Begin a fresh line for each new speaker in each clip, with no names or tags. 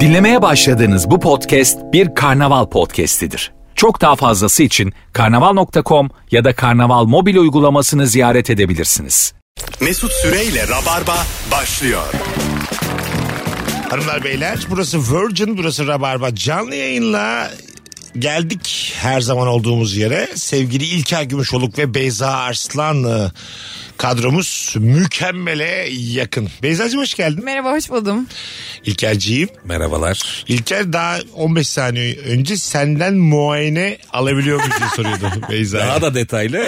Dinlemeye başladığınız bu podcast bir karnaval podcastidir. Çok daha fazlası için karnaval.com ya da karnaval mobil uygulamasını ziyaret edebilirsiniz.
Mesut Süreyle Rabarba başlıyor.
Hanımlar beyler burası Virgin burası Rabarba canlı yayınla geldik her zaman olduğumuz yere. Sevgili İlker Gümüşoluk ve Beyza Arslanlı kadromuz mükemmele yakın. Beyza'cığım hoş geldin.
Merhaba hoş buldum.
İlker'ciğim.
Merhabalar.
İlker daha 15 saniye önce senden muayene alabiliyor muyuz diye soruyordu Beyza'ya.
Daha da detaylı.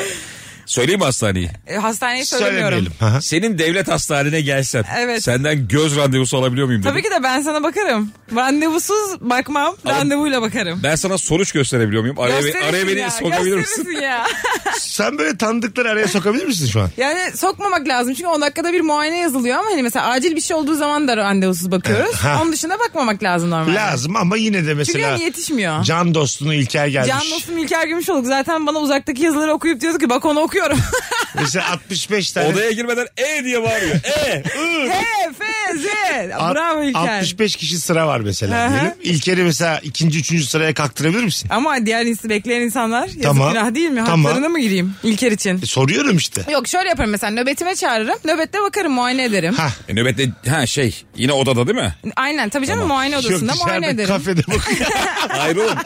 Söyleyeyim mi hastaneyi.
E, Hastaneyi söylemiyorum.
Söylemeyelim. Aha.
Senin devlet hastanene gelsem
Evet.
senden göz randevusu alabiliyor muyum dedim.
Tabii ki de ben sana bakarım. Randevusuz bakmam, randevuyla bakarım.
Ben sana sonuç gösterebiliyor muyum? Araya,
Gösterirsin
araya beni
ya,
sokabilir misin?
gösterirsin ya.
Sen böyle tanıdıkları araya sokabilir misin şu an?
yani sokmamak lazım çünkü 10 dakikada bir muayene yazılıyor ama hani mesela acil bir şey olduğu zaman da randevusuz bakıyoruz.
Ha.
Onun dışında bakmamak lazım normalde.
Lazım ama yine de
Çünkü
mesela
hani yetişmiyor.
can dostunu İlker gelmiş.
Can dostum İlker Gümüşoluk zaten bana uzaktaki yazıları okuyup diyordu ki bak onu okuyorum.
Mesela 65 tane.
Odaya girmeden e diye bağırıyor. E.
H, F, Z.
Alt-
Bravo İlker.
65 kişi sıra var mesela
Hı hı.
diyelim. İlker'i mesela ikinci, üçüncü sıraya kaktırabilir misin?
Ama diğer ins- bekleyen insanlar yazık
Tamam.
günah değil mi?
Tamam.
Haklarına mı gireyim İlker için?
E, soruyorum işte.
Yok şöyle yaparım mesela nöbetime çağırırım. Nöbette bakarım muayene ederim.
Ha.
E, nöbette ha şey yine odada değil mi?
Aynen tabii canım muayene odasında
Yok
muayene
dışarıda
ederim.
kafede bakıyor.
Hayır oğlum.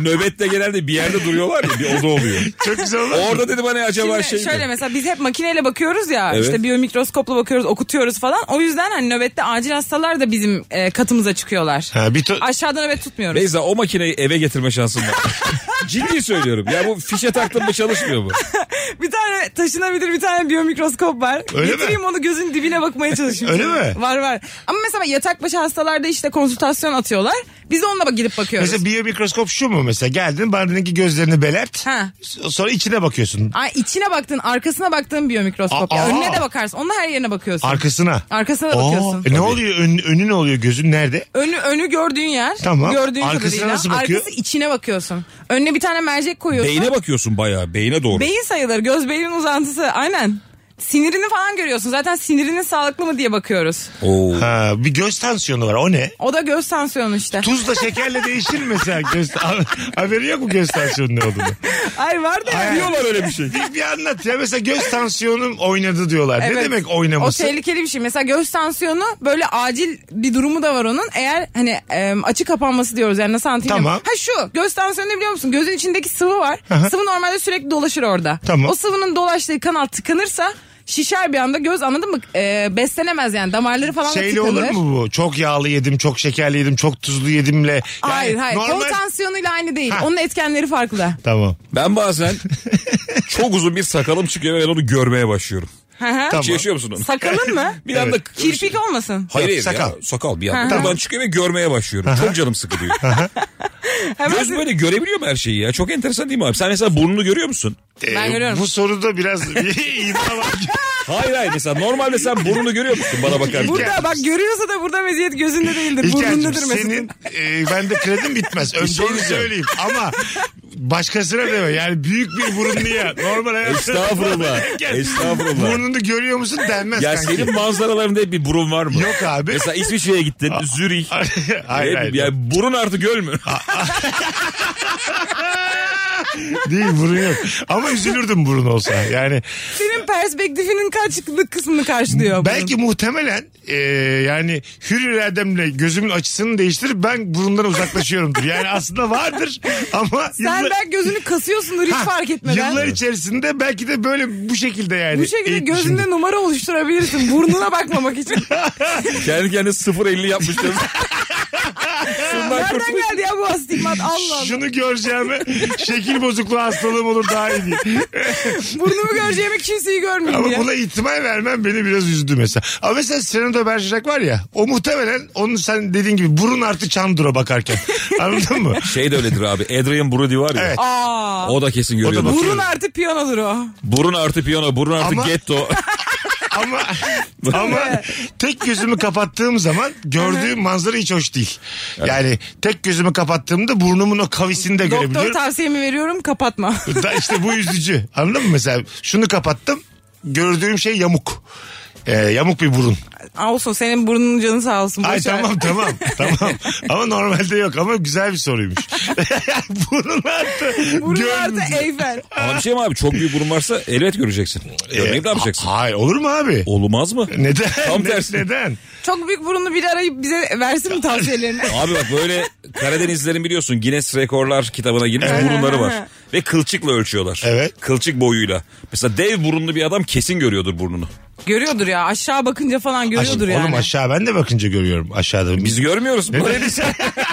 Nöbette genelde bir yerde duruyorlar ya bir oda oluyor.
Çok güzel olur. mu?
Orada dedim hani acaba
Şimdi
şey mi?
şöyle mesela biz hep makineyle bakıyoruz ya
Evet.
işte biyomikroskopla bakıyoruz okutuyoruz falan. O yüzden hani nöbette acil hastalar da bizim e, katımıza çıkıyorlar.
Ha, bir to-
Aşağıda nöbet tutmuyoruz.
Beyza o makineyi eve getirme şansın var. Ciddi söylüyorum. Ya bu fişe taktın mı çalışmıyor mu?
bir tane taşınabilir bir tane biyomikroskop var.
Öyle
Getireyim
mi?
onu gözün dibine bakmaya çalışıyorum.
Öyle mi?
Var var. Ama mesela yatak başı hastalarda işte konsültasyon atıyorlar. Biz de onunla bak- gidip bakıyoruz.
Mesela biyomikroskop şu mu mesela geldin bana dedin ki gözlerini belert.
Ha.
S- Sonra içine bakıyorsun.
Ay içine baktın, arkasına baktığın biyomikroskop. ya.
Aa!
Önüne de bakarsın. Onun her yerine bakıyorsun.
Arkasına.
Arkasına da
Oo,
bakıyorsun.
e, ne oluyor? Ön- önü ne oluyor? Gözün nerede?
Önü önü gördüğün yer.
Tamam.
Gördüğün
Arkasına
kadarıyla.
nasıl bakıyor?
Arkası içine bakıyorsun. Önüne bir tane mercek koyuyorsun.
Beyne bakıyorsun bayağı. Beyne doğru.
Beyin sayılır. Göz beynin uzantısı. Aynen. Sinirini falan görüyorsun. Zaten sinirinin sağlıklı mı diye bakıyoruz.
Oo.
Ha, bir göz tansiyonu var. O ne?
O da göz tansiyonu işte.
Tuzla şekerle değişir mi mesela göz Ha- haberi yok mu göz tansiyonu ne olduğunu?
Ay var da.
Ay,
Diyorlar öyle bir şey.
Bir, bir anlat ya mesela göz tansiyonum oynadı diyorlar. Ne
Evet.
demek oynaması?
O tehlikeli bir şey. Mesela göğüs tansiyonu böyle acil bir durumu da var onun. Eğer hani e, açı kapanması diyoruz yani nasıl anlatayım?
Tamam.
Ha şu göğüs tansiyonu ne biliyor musun? Gözün içindeki sıvı var.
Aha.
Sıvı normalde sürekli dolaşır orada.
Tamam.
O sıvının dolaştığı kanal tıkanırsa şişer bir anda göz anladın mı? E, beslenemez yani damarları falan da
Şeyli
tıkanır.
olur mu bu? Çok yağlı yedim, çok şekerli yedim, çok tuzlu yedimle. Yani
Hayır hayır. Kol tansiyonuyla aynı değil.
Ha.
Onun etkenleri farklı.
Tamam.
Ben bazen çok uzun bir sakalım çıkıyor ve ben onu görmeye başlıyorum.
Hı hı.
Tamam.
Hiç yaşıyor musun onu?
Sakalın mı?
Bir anda
Kirpik olmasın.
Hayır,
Yok,
hayır
sakal.
sakal. Ya, sakal bir anda.
Aha.
Buradan çıkıyor ve görmeye başlıyorum. Çok canım sıkılıyor.
Hemen
Göz böyle görebiliyor mu her şeyi ya? Çok enteresan değil mi abi? Sen mesela burnunu görüyor musun?
Ben görüyorum.
Ee, Bu soruda biraz bir iddia var.
Hayır hayır mesela normalde sen burnunu görüyor musun bana bakarken?
Burada bak görüyorsa da burada meziyet gözünde değildir.
İlker'cim,
Burnundadır mesela.
senin e, bende kredim bitmez. Önce
şey
onu
diyeceğim.
söyleyeyim ama başkasına deme. Yani büyük bir burunluya normal hayatta.
Estağfurullah.
Gel.
Estağfurullah.
Burnunu görüyor musun denmez
Ya
kanki.
senin manzaralarında hep bir burun var mı?
Yok abi.
Mesela İsviçre'ye gittin, Zürih.
hayır
Hep-
hayır.
ya burun artı göl mü?
Değil burun yok. Ama üzülürdüm burun olsa. Yani
Senin perspektifinin kaçlık kısmını karşılıyor.
Belki muhtemelen e, yani hür irademle gözümün açısını değiştirip ben burundan uzaklaşıyorumdur. Yani aslında vardır ama
bunun. Sen
yıllar-
belki gözünü kasıyorsundur hiç
Ha,
fark etmeden.
Yıllar içerisinde belki de böyle bu şekilde yani. E,
Bu şekilde
eğitmişimdir.
gözünde numara oluşturabilirsin burnuna bakmamak için.
Kendi kendine 0.50 yapmıştım. Şundan
Nereden
kurtuluş.
geldi ya bu astigmat Allah Allah.
Şunu göreceğime şekil bozukluğu hastalığım olur daha iyi diye.
Burnumu göreceğimi kimseyi görmeyeyim
Ama
diye.
buna ihtimal vermem beni biraz üzdü mesela. Ama mesela Serenado Bergerac var ya o muhtemelen onun sen dediğin gibi burun artı çandura bakarken. Anladın mı?
Şey de öyledir abi. Adrian Brody var ya.
Evet.
Aa,
O da kesin görüyor.
bakıyor.
burun artı piyanodur o.
Burun artı piyano, burun artı
Ama-
getto.
Ama ama tek gözümü kapattığım zaman gördüğüm manzara hiç hoş değil. Yani tek gözümü kapattığımda burnumun o kavisini de
Doktor
görebiliyorum.
tavsiyemi veriyorum kapatma.
Da işte bu üzücü. Anladın mı mesela? Şunu kapattım. Gördüğüm şey yamuk. Ee, yamuk bir burun.
Olsun senin burnunun canı sağ olsun.
Ay
boş ver.
tamam tamam tamam. Ama normalde yok ama güzel bir soruymuş. Burun arttı.
Burnu
Gör-
artı e- Eyfel.
Ama bir şey mi abi çok büyük burun varsa elbet göreceksin. Görmeyip ne
Ee, Ha-
yapacaksın?
Hayır olur mu abi?
Olmaz mı?
E, Neden?
Tam
Ne-
tersi.
Neden?
Çok büyük burunlu biri arayıp bize versin mi tavsiyelerini?
Abi bak böyle Karadenizlerin biliyorsun Guinness Rekorlar kitabına girmiş burunları var. Ve kılçıkla ölçüyorlar.
Evet.
Kılçık boyuyla. Mesela dev burunlu bir adam kesin görüyordur burnunu.
görüyordur ya aşağı bakınca falan
Aş-
görüyordur yani.
Oğlum aşağı ben de bakınca görüyorum aşağıda.
Biz görmüyoruz.
Neden?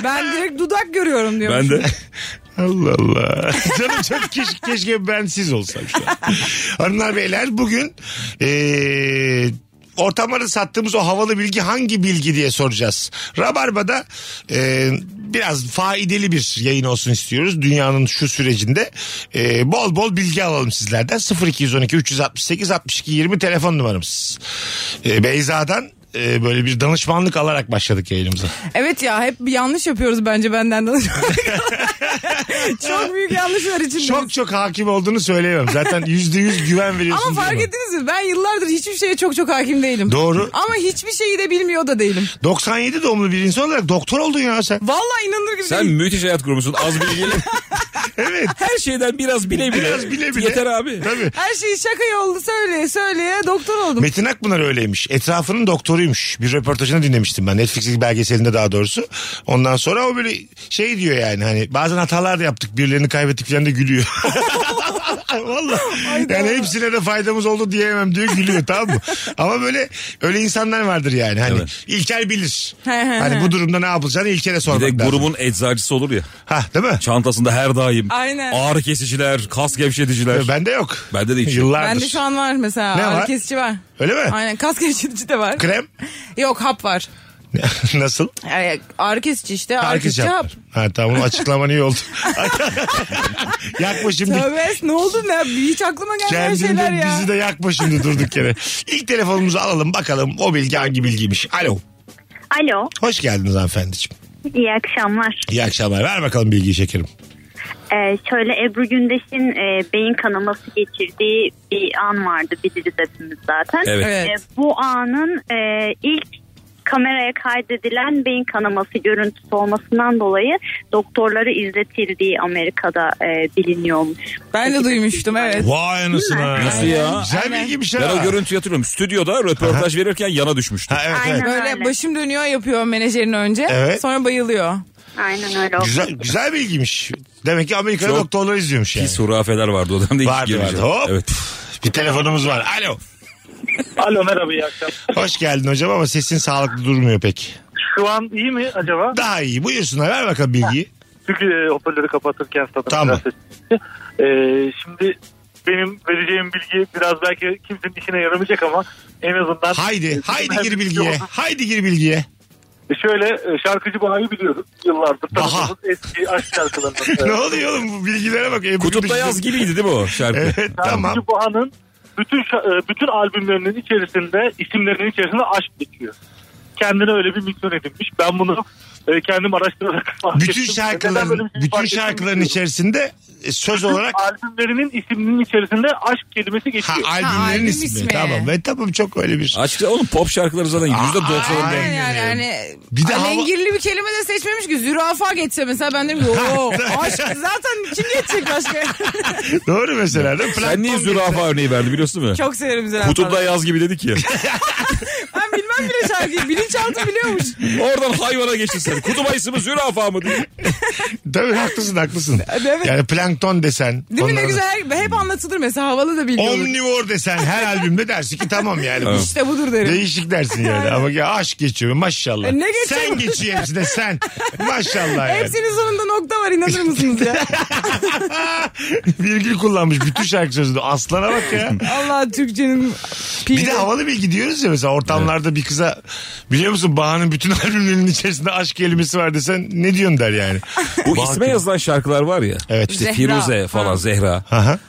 Ben direkt dudak görüyorum diyorum.
ben de.
Allah Allah. Canım çok keş- keşke ben siz olsam şu an. Hanımlar beyler bugün eee ortamları sattığımız o havalı bilgi hangi bilgi diye soracağız. Rabarba'da eee, biraz faydalı bir yayın olsun istiyoruz. Dünyanın şu sürecinde Eee, bol bol bilgi alalım sizlerden. 0212 368 62 20 telefon numaramız. Eee, Beyza'dan eee, böyle bir danışmanlık alarak başladık yayınımıza.
Evet ya hep bir yanlış yapıyoruz bence benden danışmanlık. Çok büyük yanlışlar içindeyiz.
Çok çok hakim olduğunu söyleyemem. Zaten %100 güven veriyorsun.
Ama fark
diyemem.
ettiniz mi? Ben yıllardır hiçbir şeye çok çok hakim değilim.
Doğru.
Ama hiçbir şeyi de bilmiyor da değilim.
97 doğumlu bir insan olarak doktor oldun ya sen.
Vallahi inanılır gibi
Sen
değil.
müthiş hayat kurmuşsun. Az bilgiyle.
Evet.
Her şeyden biraz bile bile.
Biraz bile bile.
Yeter abi.
Tabii.
Her şeyi şaka yollu söyleye söyleye doktor oldum.
Metin Akpınar öyleymiş. Etrafının doktoruymuş. Bir röportajını dinlemiştim ben. Netflix'in belgeselinde daha doğrusu. Ondan sonra o böyle şey diyor yani hani bazen hatalar da yaptık birilerini kaybettik falan da gülüyor. Valla. Yani hepsine de faydamız oldu diyemem diyor gülüyor tamam mı? Ama böyle öyle insanlar vardır yani. Hani
Evet.
İlker bilir.
He, he,
hani
he.
bu durumda ne yapılacağını İlker'e
Bir
sormak
de
lazım.
grubun eczacısı olur ya.
Ha değil mi?
Çantasında her daim.
Aynen.
Ağrı kesiciler, kas gevşeticiler.
Bende yok.
Bende de hiç yok.
Yıllardır.
Bende şu an var mesela.
Ne
ağrı
var?
kesici var.
Öyle mi?
Aynen kas kesici de var.
Krem
Yok hap var.
nasıl?
Yani ağrı kesici işte ağrı
Herkes
kesici hap.
yapar. Ha tamam açıklaman iyi oldu. yakma şimdi.
Tövbe ne oldu ne? Hiç aklıma gelmeyen
Kendini
şeyler
de
ya.
bizi de yakma şimdi durduk yere. İlk telefonumuzu alalım bakalım o bilgi hangi bilgiymiş. Alo.
Alo,
Hoş geldiniz hanımefendiciğim.
iyi akşamlar.
İyi akşamlar. Ver bakalım bilgiyi şekerim.
Ee, şöyle Ebru Gündeş'in e, beyin kanaması geçirdiği bir an vardı biliriz hepimiz zaten.
Evet.
Evet.
Ee, bu anın e, ilk kameraya kaydedilen beyin kanaması görüntüsü olmasından dolayı doktorları izletildiği Amerika'da e, biliniyormuş.
Ben de duymuştum evet.
Vay anasına.
Nasıl ya?
Güzel bilgiymiş ha.
Ben o görüntüyü hatırlıyorum. Stüdyoda röportaj verirken yana düşmüştü.
Ha, evet, evet.
Aynen.
Böyle
öyle.
başım dönüyor yapıyor menajerin önce.
Evet.
Sonra bayılıyor.
Aynen öyle. oldu.
Güzel, güzel bilgiymiş. Demek ki Amerika'da
Çok
doktorlar izliyormuş yani.
Pis hurafeler vardı o dönemde. hiç
Vardı vardı.
girmeyeceğim.
Hop.
Evet.
Bir telefonumuz var. Alo.
Alo merhaba iyi akşamlar.
Hoş geldin hocam ama sesin sağlıklı durmuyor pek.
Şu an iyi mi acaba?
Daha iyi. Buyursunlar ver bakalım bilgiyi.
Çünkü e, hoparlörü kapatırken stadım
Tamam.
biraz sesli. E, şimdi benim vereceğim bilgi biraz belki kimsenin işine yaramayacak ama en azından...
Haydi,
E,
haydi
hem-
gir bilgiye. Haydi gir bilgiye.
Şöyle e, şarkıcı Bahar'ı biliyoruz yıllardır.
Baha.
Tanıdığımız eski aşk şarkılarından.
ne oluyor oğlum bu bilgilere bak. Ebru
Kutupta
düştü.
yaz gibiydi değil mi o şarkı?
Evet tamam.
Şarkıcı Baha'nın bütün şa- e, bütün albümlerinin içerisinde isimlerinin içerisinde aşk geçiyor. Kendine öyle bir misyon edinmiş. Ben bunu e, kendim araştırarak fark
Bütün
ettim. Neden böyle
şarkıların
bir şey
bütün
fark ettim
şarkıların
bilmiyorum.
içerisinde e, söz olarak ha,
albümlerinin isiminin içerisinde aşk kelimesi geçiyor.
albümlerin
albüm
ismi.
ismi.
Tamam ve tamam çok öyle bir. şey.
Açıkça oğlum pop şarkıları zaten %90'ında.
Aynen.
Aynen yani. hani yani
Bir de hava-
alengirli bir kelime de seçmemiş ki. Zürafa geçse mesela ben derim ki "Oo, aşk zaten kim geçecek başka?
Doğru mesela. Değil mi?
Sen niye
Platform
zürafa örneği verdi biliyorsun değil mi?
Çok severim zürafa.
Kutupta yaz gibi dedik ya.
Ben bilmem bile şarkıyı. Bilinçaltı biliyormuş.
Oradan hayvana geçtin sen. Kutup ayısı mı zürafa mı diye.
gibi. Tabii haklısın haklısın.
Evet.
Yani plankton desen.
Değil mi ne
onların-
güzel? her- Hep anlatılır mesela havalı da biliyormuş.
Omnivor desen her albümde dersin ki tamam yani. bu
İşte budur derim.
Değişik dersin yani ama ya aşk geçiyor maşallah.
E, ne geçiyor?
Sen geçiyor hepsine sen. Maşallah yani.
Hepsinin sonunda nokta var inanır mısınız ya?
Ah, Virgül kullanmış bütün şarkı sözünü. Aslana bak ya.
Allah Türkçenin piri.
Bir de havalı bilgi diyoruz ya mesela ortamlarda bir kıza biliyor musun Baha'nın bütün albümlerinin içerisinde aşk kelimesi var desen ne diyorsun der yani.
Bu
Bak-
isme yazılan şarkılar var ya.
Evet.
İşte
Zehra.
Firuze falan
Ha.
Zehra.
Aha.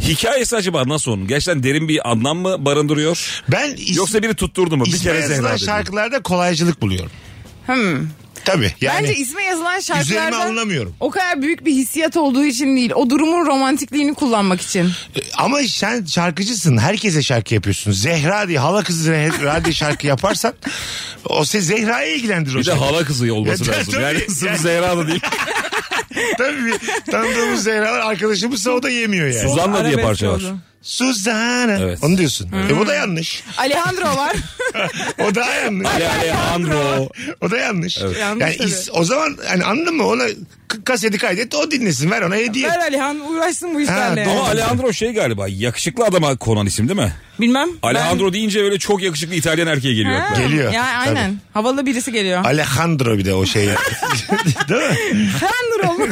Hikayesi acaba nasıl onun? Gerçekten derin bir anlam mı barındırıyor?
Ben is-
Yoksa biri tutturdu mu? Bir
isme
kere Zehra
yazılan
dedi.
şarkılarda kolaycılık buluyorum.
Hmm.
Tabii yani.
Bence isme yazılan
üzerime
şarkılardan
alınamıyorum.
o kadar büyük bir hissiyat olduğu için değil. O durumun romantikliğini kullanmak için.
Ama sen şarkıcısın. Herkese şarkı yapıyorsun. Zehra diye hala kızı Zehra diye şarkı yaparsan o seni Zehra'ya ilgilendirir o
Bir de
şarkı.
hala kızı olması
Ya,
lazım.
tabii.
Yani
Yani-
sırf Zehra da değil.
Tabii bir tanıdığımız Zehra var. Arkadaşımızsa o da yemiyor yani.
Suzan- Zanla diye
Arabesk
parça var.
oldu.
Suzana.
Evet.
Onu diyorsun.
Hmm.
E, bu da yanlış.
Alejandro var.
O daha yanlış.
Alejandro.
o da yanlış.
Yanlış
Yani
tabii.
is- o zaman yani anladın mı? Ona k- kaseti kaydet o dinlesin. Ver ona hediye.
Ver Alejandro uğraşsın bu işlerle.
doğru.
Ama Alejandro şey galiba yakışıklı adama konan isim değil mi?
Bilmem.
Alejandro deyince böyle çok yakışıklı İtalyan erkeğe
Ben-
geliyor.
Ha,
akla.
Geliyor.
Ya aynen. Havalı birisi geliyor.
Alejandro bir de o şey. Değil mi?
Alejandro mu?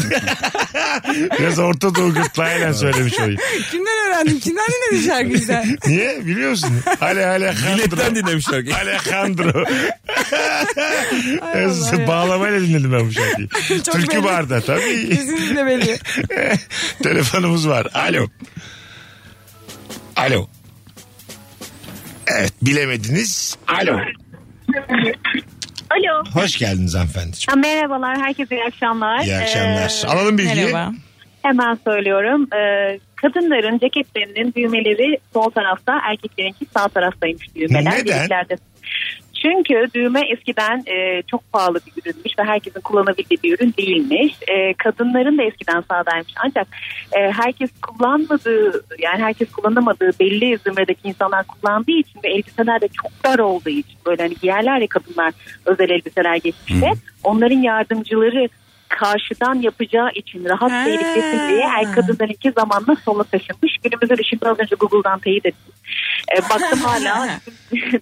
Biraz Orta Doğu gırtlağıyla söylemiş olayım.
Kimden öğrendin? Kimden dinledin şarkıyı sen?
Niye? Biliyor musun? Ale Alejandro.
Milletten dinlemişler.
Alejandro. Bağlamayla dinledim ben bu şarkıyı.
Çok
Türkü
belli.
barda tabii.
Kesinlikle belli.
Telefonumuz var. Alo. Alo. Evet bilemediniz. Alo.
Alo.
Hoş geldiniz hanımefendiciğim.
Ha, merhabalar herkese iyi akşamlar.
İyi akşamlar.
Ee,
Alalım bilgiyi.
Merhaba.
hemen söylüyorum. Ee, kadınların ceketlerinin düğmeleri sol tarafta, erkeklerinki sağ taraftaymış düğmeler.
Neden?
Biriklerde. Çünkü düğme eskiden e, çok pahalı bir ürünmüş ve herkesin kullanabildiği bir ürün değilmiş. E, kadınların da eskiden sağdaymış. Ancak e, herkes kullanmadığı, yani herkes kullanamadığı belli zümredeki insanlar kullandığı için ve elbiseler de çok dar olduğu için böyle hani giyerler ya kadınlar özel elbiseler geçmişte. Onların yardımcıları karşıdan yapacağı için rahat
Ha.
tehlikesi diye er kadınlarınki zamanla sola taşınmış. Günümüzün işinde az önce Google'dan teyit ettim. E, baktım hala
Ha,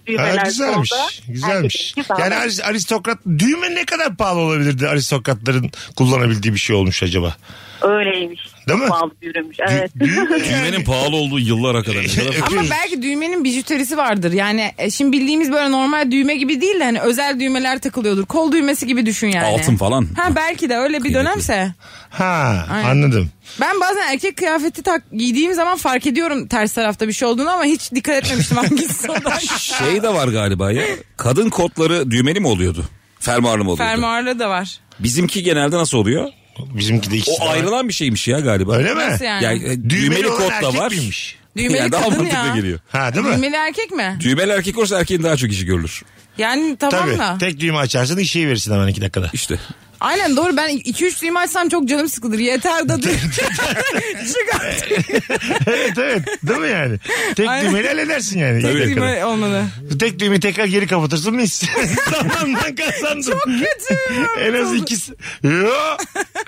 düğmeler
güzelmiş.
solda.
Güzelmiş.
erkeklerinki sağda.
Yani aris- aristokrat düğme ne kadar pahalı olabilirdi aristokratların kullanabildiği bir şey olmuş acaba?
Öyleymiş.
Değil mi?
Pahalı bir ürünmüş.
Dü-
Evet.
düğme yani.
Düğmenin pahalı olduğu yıllara kadar. Ne kadar-
Ama
Öpüyoruz.
belki düğmenin bijuterisi vardır. Yani e, şimdi bildiğimiz böyle normal düğme gibi değil de hani özel düğmeler takılıyordur. Kol düğmesi gibi düşün yani.
Altın falan.
Ha belki de öyle bir dönemse.
Ha
Aynen.
anladım.
Ben bazen erkek kıyafeti tak giydiğim zaman fark ediyorum ters tarafta bir şey olduğunu ama hiç dikkat etmemiştim hangisi o da.
Şey de var galiba ya. Kadın kotları düğmeli mi oluyordu? Fermuarlı mı oluyordu?
Fermuarlı da var.
Bizimki genelde nasıl oluyor?
Bizimki de ikisi de
O
var.
ayrılan bir şeymiş ya galiba.
Öyle mi?
Nasıl yani?
Yani, e, düğmeli,
Düğmeli olan
kot da
erkek
var.
miymiş?
Düğmeli
Yani daha
kadın
mantıklı
ya.
geliyor.
Ha değil mi?
Düğmeli erkek mi?
Düğmeli erkek olursa erkeğin daha çok işi görülür.
Yani tamam
Tabii.
da.
Tek düğme açarsın işi verirsin hemen iki dakikada.
İşte.
Aynen doğru ben 2-3 düğme açsam çok canım sıkılır. Yeter da düğme.
evet evet. Değil mi yani? Tek
Aynen.
düğmeyle halledersin yani. iki dakikada.
düğme olmalı.
Tek düğmeyi tekrar geri kapatırsın mis. tamam ben kazandım. Çok
kötü.
en az ikisi. Yo.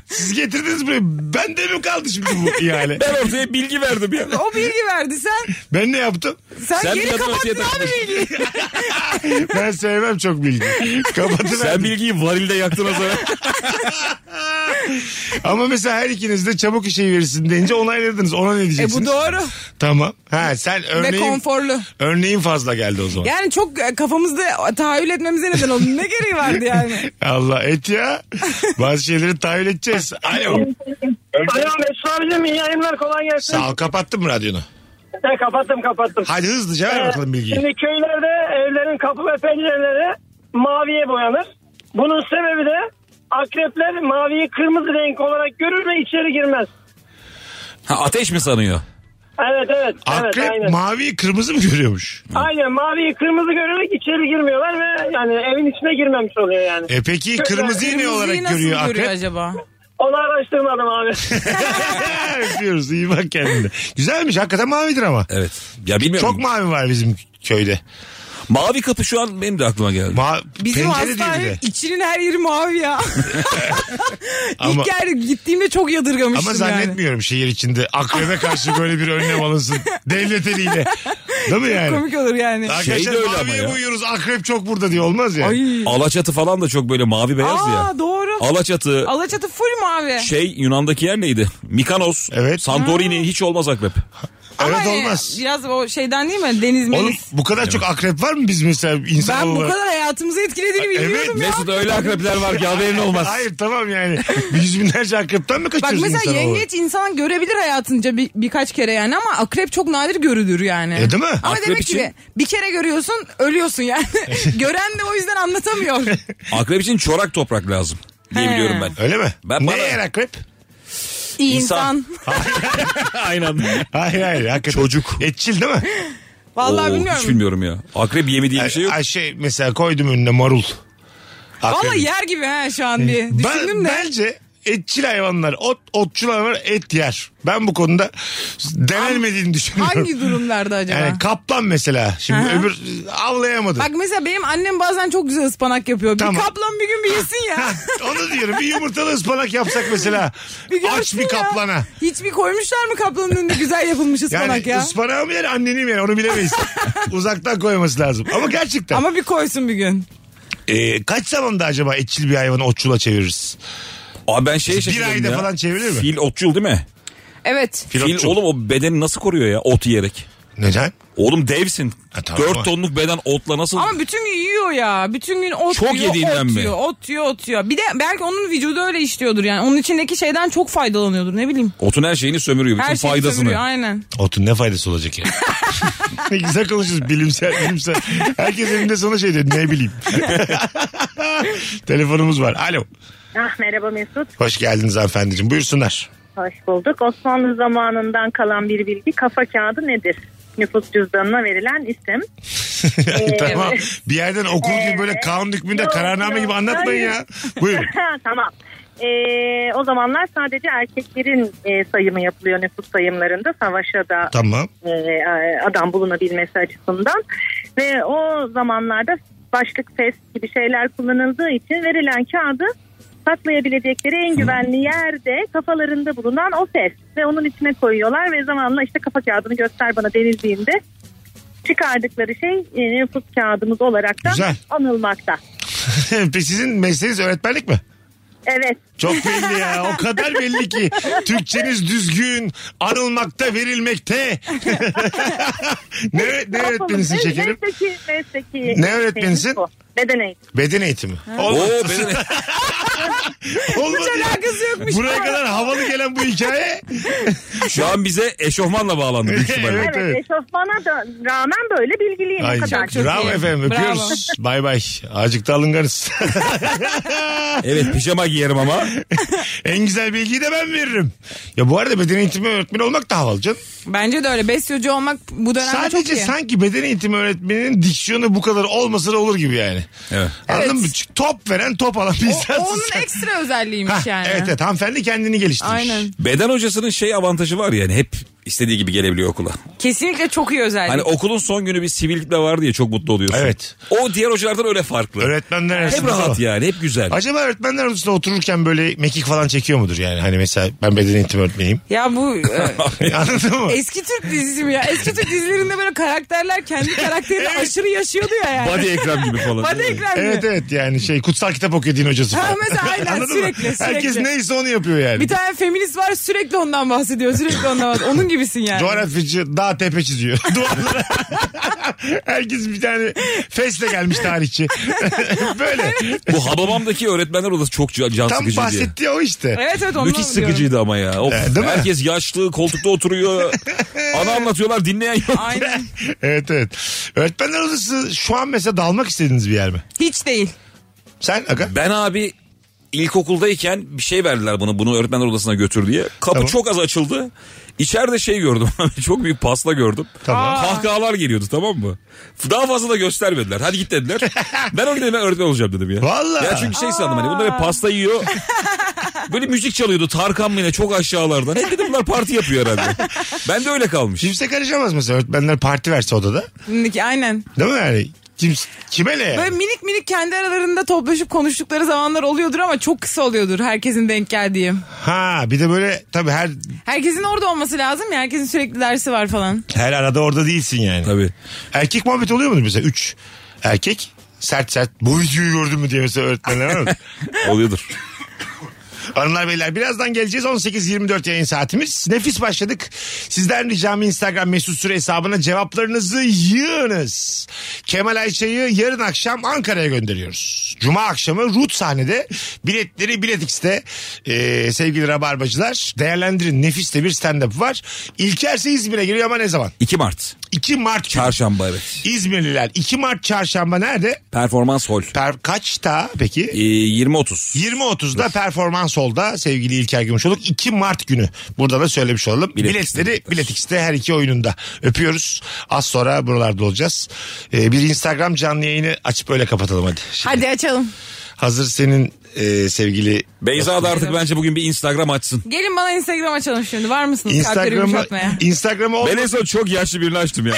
Siz getirdiniz burayı. Ben de mi kaldı şimdi bu ihale?
Ben ortaya bilgi verdim ya.
O bilgi verdi sen.
Ben ne yaptım?
Sen,
Sen
geri
bir adım
kapattın
öteye
abi
taşıdın.
bilgiyi.
Ben sevmem çok bilgi. Kapatın
Sen bilgiyi varilde yaktın o zaman.
Ama mesela her ikiniz de çabuk işe verirsin deyince onayladınız. Ona ne
E bu
diyeceksiniz?
doğru
Tamam. Ha sen
ve
örneğin,
konforlu.
örneğin fazla geldi o zaman.
Yani çok e, kafamızda tahayyül etmemize neden oldu. Ne gereği vardı yani?
Allah et ya. Bazı şeyleri tahayyül edeceğiz. Alo.
Alo Mesut abicim iyi yayınlar kolay gelsin.
Sağ ol kapattın mı radyonu?
Ya, kapattım kapattım.
Hadi hızlıca ver bakalım bilgiyi.
Şimdi köylerde evlerin kapı ve pencereleri maviye boyanır. Bunun sebebi de akrepler maviyi kırmızı renk olarak görür ve içeri girmez.
Ha, ateş mi sanıyor?
Evet evet. evet,
Akrep
aynen.
mavi kırmızı mı görüyormuş?
aynen maviyi kırmızı görerek içeri girmiyorlar ve yani evin içine girmemiş oluyor yani.
E peki kırmızıyı ne
Kırmızıyı
olarak
nasıl
görüyor akrep?
acaba?
Onu araştırmadım abi.
Öpüyoruz iyi bak kendine. Güzelmiş hakikaten mavidir ama.
Evet. Ya bilmiyorum.
Çok mavi var bizim köyde.
Mavi kapı şu an benim de aklıma geldi.
Ma
Bizim
pencere değil bir
hastane
de.
içinin her yeri mavi ya.
Ama-
İlk yer gittiğimde çok yadırgamıştım
Ama
yani.
zannetmiyorum şehir içinde akrebe karşı böyle bir önlem alınsın. Devlet eliyle. Değil mi yani?
Komik olur yani.
Arkadaşlar
Şey de öyle ama
maviye
ya.
buyuyoruz akrep çok burada diye olmaz ya. Yani.
Ay.
Alaçatı falan da çok böyle mavi beyaz ya.
Aa doğru.
Alaçatı,
Alaçatı full mavi.
şey Yunan'daki yer neydi? Mikanos,
Evet.
Santorini hiç olmaz akrep.
Ama
Evet,
hani
olmaz.
biraz o şeyden değil mi? Deniz
Oğlum
meniz.
bu kadar çok akrep var mı biz mesela insan
Ben bu
olarak?
kadar hayatımızı etkilediğini
Evet,
bilmiyordum ya.
Mesut öyle akrepler var ki haberin olmaz.
Hayır tamam yani. Yüz binlerce akrepten mi
Bak
kaçıyoruz
mesela
insan olarak?
yengeç insan görebilir hayatınca bir, birkaç kere yani ama akrep çok nadir görülür yani.
E, değil mi?
Ama
Akrep
demek
için-
ki bir kere görüyorsun ölüyorsun yani. Gören de o yüzden anlatamıyor.
Akrep için çorak toprak lazım diye
He.
biliyorum ben.
Öyle mi?
Ben
ne
bana-
yer akrep?
İyi
İnsan.
insan.
Aynen.
Hayır hayır. Akrep. Çocuk. Etçil değil mi?
Vallahi
Oo,
bilmiyorum.
Hiç bilmiyorum ya. Akrep yemi diye bir şey yok.
Ay, şey mesela koydum önüne marul. Akrep.
Vallahi yer gibi ha şu an bir düşündüm
ben,
de.
Bence etçil hayvanlar, ot, otçul hayvanlar et yer. Ben bu konuda denenmediğini düşünüyorum.
Hangi durumlarda acaba?
Yani kaplan mesela. Şimdi
Aha.
öbür avlayamadı.
Bak mesela benim annem bazen çok güzel ıspanak yapıyor.
Tamam.
Bir kaplan bir gün bir yesin ya.
Onu diyorum. Bir yumurtalı ıspanak yapsak mesela.
Bir
aç
görsün
bir
ya.
kaplana.
Hiç bir koymuşlar mı kaplanın önünde güzel yapılmış ıspanak
Yani
ya?
ıspanağı mı yer anneni mi yer onu bilemeyiz. Uzaktan koyması lazım. Ama gerçekten.
Ama bir koysun bir gün.
Ee, kaç zamanda acaba etçil bir hayvanı otçula çeviririz?
Abi ben şeye
Bir
şaşırıyorum
ayda
ya.
falan çevirir mi?
Fil otçul değil mi?
Evet.
Fil
Fil
otçul.
oğlum o bedeni nasıl koruyor ya ot yiyerek?
Neden?
Oğlum devsin.
Ha, tamam ama-
4 tonluk beden otla nasıl?
Ama bütün gün yiyor ya. Bütün gün ot
Çok
yiyor,
yediğinden
ot
mi?
yiyor, ot yiyor, ot yiyor. Bir de belki onun vücudu öyle işliyordur yani. Onun içindeki şeyden çok faydalanıyordur ne bileyim.
Otun her şeyini sömürüyor. Bütün
Her şeyi
faydasını.
sömürüyor aynen.
Otun ne faydası olacak ya? ne güzel konuşuyoruz bilimsel bilimsel. Herkes elinde sana şey diyor ne bileyim. Telefonumuz var. Alo.
Ah, merhaba Mesut.
Hoş geldiniz hanımefendiciğim. Buyursunlar.
Hoş bulduk. Osmanlı zamanından kalan bir bilgi kafa kağıdı nedir? Nüfus cüzdanına verilen isim.
tamam. Bir yerden okul gibi böyle kanun hükmünde
Yok,
kararname
yok,
gibi anlatmayın
hayır.
ya. Buyurun.
Ha, tamam. Ee, o zamanlar sadece erkeklerin e, sayımı yapılıyor nüfus sayımlarında. Savaşa da
Tamam.
e, adam bulunabilmesi açısından. Ve o zamanlarda başlık fes gibi şeyler kullanıldığı için verilen kağıdı saklayabilecekleri en güvenli yerde kafalarında bulunan o fes. Ve onun içine koyuyorlar ve zamanla işte kafa kağıdını göster bana denildiğinde çıkardıkları şey e, nüfus kağıdımız olarak da
Güzel.
anılmakta.
Peki sizin mesleğiniz öğretmenlik mi?
Evet.
Çok belli ya. O kadar belli ki. Türkçeniz düzgün. Anılmakta, verilmekte. ne, ne öğretmenisin
Yapalım.
şekerim?
Mesleki, mesleki
Ne öğretmenisin?
bu. Beden eğitimi.
Beden eğitimi.
Oo,
Olmadı.
beden...
Olmadı ya.
alakası yokmuş.
Buraya kadar havalı gelen bu hikaye.
Şu an bize eşofmanla bağlandı büyük ihtimalle.
Evet,
Evet,
evet.
eşofmana da rağmen böyle bilgiliyim.
Ay,
o kadar.
çok
bravo
iyi.
efendim öpüyoruz. Bay bay. Azıcık da alınganız.
Evet pijama giyerim ama.
en güzel bilgiyi de ben veririm. Ya bu arada beden eğitimi öğretmeni olmak da havalı canım.
Bence de öyle. Besyocu olmak bu dönemde çok
Sadece
iyi.
sanki beden eğitimi öğretmeninin diksiyonu bu kadar olmasa da olur gibi yani.
Evet.
Anladın
Evet.
mı? Çünkü Top veren top alan bir
O,
insansın
onun
sen.
ekstra özelliğiymiş
Ha,
yani.
Evet evet hanımefendi kendini geliştirmiş.
Aynen.
Beden hocasının şey avantajı var yani hep istediği gibi gelebiliyor okula.
Kesinlikle çok iyi özellik.
Hani okulun son günü bir sivillikle var diye çok mutlu oluyorsun.
Evet.
O diğer hocalardan öyle farklı.
Öğretmenler
Hep
arasında
rahat
o.
yani hep güzel.
Acaba öğretmenler arasında otururken böyle mekik falan çekiyor mudur yani? Hani mesela ben beden eğitimi öğretmeniyim.
Ya bu e,
Anladın mı?
eski Türk dizisi mi ya? Eski Türk dizilerinde böyle karakterler kendi karakterini aşırı yaşıyordu ya yani.
Body ekran gibi falan.
Body ekran gibi.
Evet evet yani şey kutsal kitap okuyor din hocası
Ha,
falan.
mesela aynen,
Anladın
sürekli,
mı?
sürekli.
Herkes neyse onu yapıyor yani.
Bir tane feminist var sürekli ondan bahsediyor. Sürekli ondan bahsediyor. Onun gibisin yani.
Coğrafyacı dağ tepe çiziyor. Duvarlara. Herkes bir tane fesle gelmiş tarihçi. Böyle.
Bu Hababam'daki öğretmenler odası çok can can
Tam
sıkıcıydı. ya.
bahsetti ya o işte.
Evet evet ondan
Müthiş
diyorum.
sıkıcıydı ama ya. Of,
E, değil mi?
herkes yaşlı koltukta oturuyor. Ana anlatıyorlar dinleyen yok.
Aynen.
Evet evet. Öğretmenler odası şu an mesela dalmak istediğiniz bir yer mi?
Hiç değil.
Sen Aga?
Ben abi ilkokuldayken bir şey verdiler bunu bunu öğretmenler odasına götür diye. Kapı
Tamam.
çok az açıldı. İçeride şey gördüm. çok büyük pasta gördüm.
Tamam.
Kahkahalar geliyordu tamam mı? Daha fazla da göstermediler. Hadi git dediler. ben onu dedim ben öğretmen olacağım dedim ya.
Vallahi.
Ya çünkü şey sandım hani bunlar hep pasta yiyor. Böyle müzik çalıyordu Tarkan mı yine çok aşağılardan. Hep dedim bunlar parti yapıyor herhalde. Ben de öyle kalmış.
Kimse karışamaz mesela öğretmenler parti verse odada.
Şimdiki aynen.
Değil mi yani? Kim, kime ne
Böyle
yani?
minik minik kendi aralarında toplaşıp konuştukları zamanlar oluyordur ama çok kısa oluyordur herkesin denk geldiği.
Ha bir de böyle tabii her
Herkesin orada olması lazım ya. Herkesin sürekli dersi var falan.
her arada orada değilsin yani.
Tabii.
Erkek muhabbet oluyor mu mesela? Üç erkek sert sert bu videoyu gördün mü diye mesela öğretmenler var mı?
Oluyordur.
Hanımlar beyler birazdan geleceğiz. 18.24 yayın saatimiz. Nefis başladık. Sizden ricam Instagram mesut süre hesabına cevaplarınızı yığınız. Kemal Ayça'yı yarın akşam Ankara'ya gönderiyoruz. Cuma akşamı Rut sahnede biletleri Bilet X'te Ee, sevgili Rabarbacılar değerlendirin. Nefis de bir stand-up var. İlker ise İzmir'e geliyor ama ne zaman?
2 Mart.
2 Mart günü.
Çarşamba evet.
İzmirliler 2 Mart çarşamba nerede?
Performans hol.
Per kaçta peki?
Ee, 20.30.
20.30'da Performans Hall'da sevgili İlker Gümüşoluk 2 Mart günü. Burada da söylemiş olalım.
Bilet
Biletleri
X'te.
Bilet X'te her iki oyununda. Öpüyoruz. Az sonra buralarda olacağız. Ee, bir Instagram canlı yayını açıp öyle kapatalım hadi. Şimdi
Hadi açalım.
Hazır senin e, sevgili
Beyza da artık bence bugün bir Instagram açsın.
Gelin bana Instagram açalım şimdi. Var mısınız kalpleri
Instagram'ı
yumuşatmaya?
Instagram'ı ol-
Ben en son çok yaşlı birini açtım ya.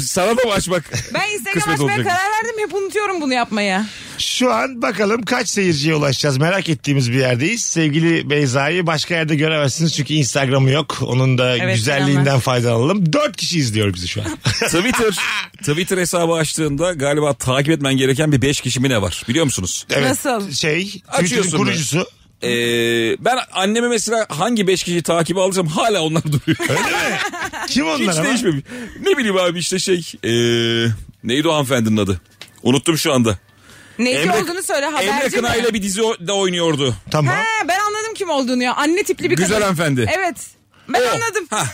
Sana da mı açmak?
Ben Instagram
kısmet
açmaya
olacak.
karar verdim. Hep unutuyorum bunu yapmaya.
Şu an bakalım kaç seyirciye ulaşacağız. Merak ettiğimiz bir yerdeyiz. Sevgili Beyza'yı başka yerde göremezsiniz çünkü Instagram'ı yok. Onun da
Evet,
güzelliğinden
selamlar.
faydalanalım. 4 kişi izliyor bizi şu an.
Twitter Twitter hesabı açtığında galiba takip etmen gereken bir 5 kişi mi ne var biliyor musunuz?
Evet.
Nasıl?
Şey, Twitter'ın
Açıyorsun
kurucusu.
Ee, ben annemi mesela hangi 5 kişiyi takibe alacağım hala onlar duruyor.
Öyle mi? Kim onlar
Hiç
ama?
değişmemiş. Ne bileyim abi işte şey ee, neydi o hanımefendinin adı? Unuttum şu anda.
Neyse
Emre-
olduğunu söyle
Emre
haberci
Kınay'la
mi?
bir dizi o- da oynuyordu.
Tamam.
Ha, ben anladım kim olduğunu ya. Anne tipli bir
Güzel
kadın.
hanımefendi.
Evet. Ben
O.
anladım.
Ha.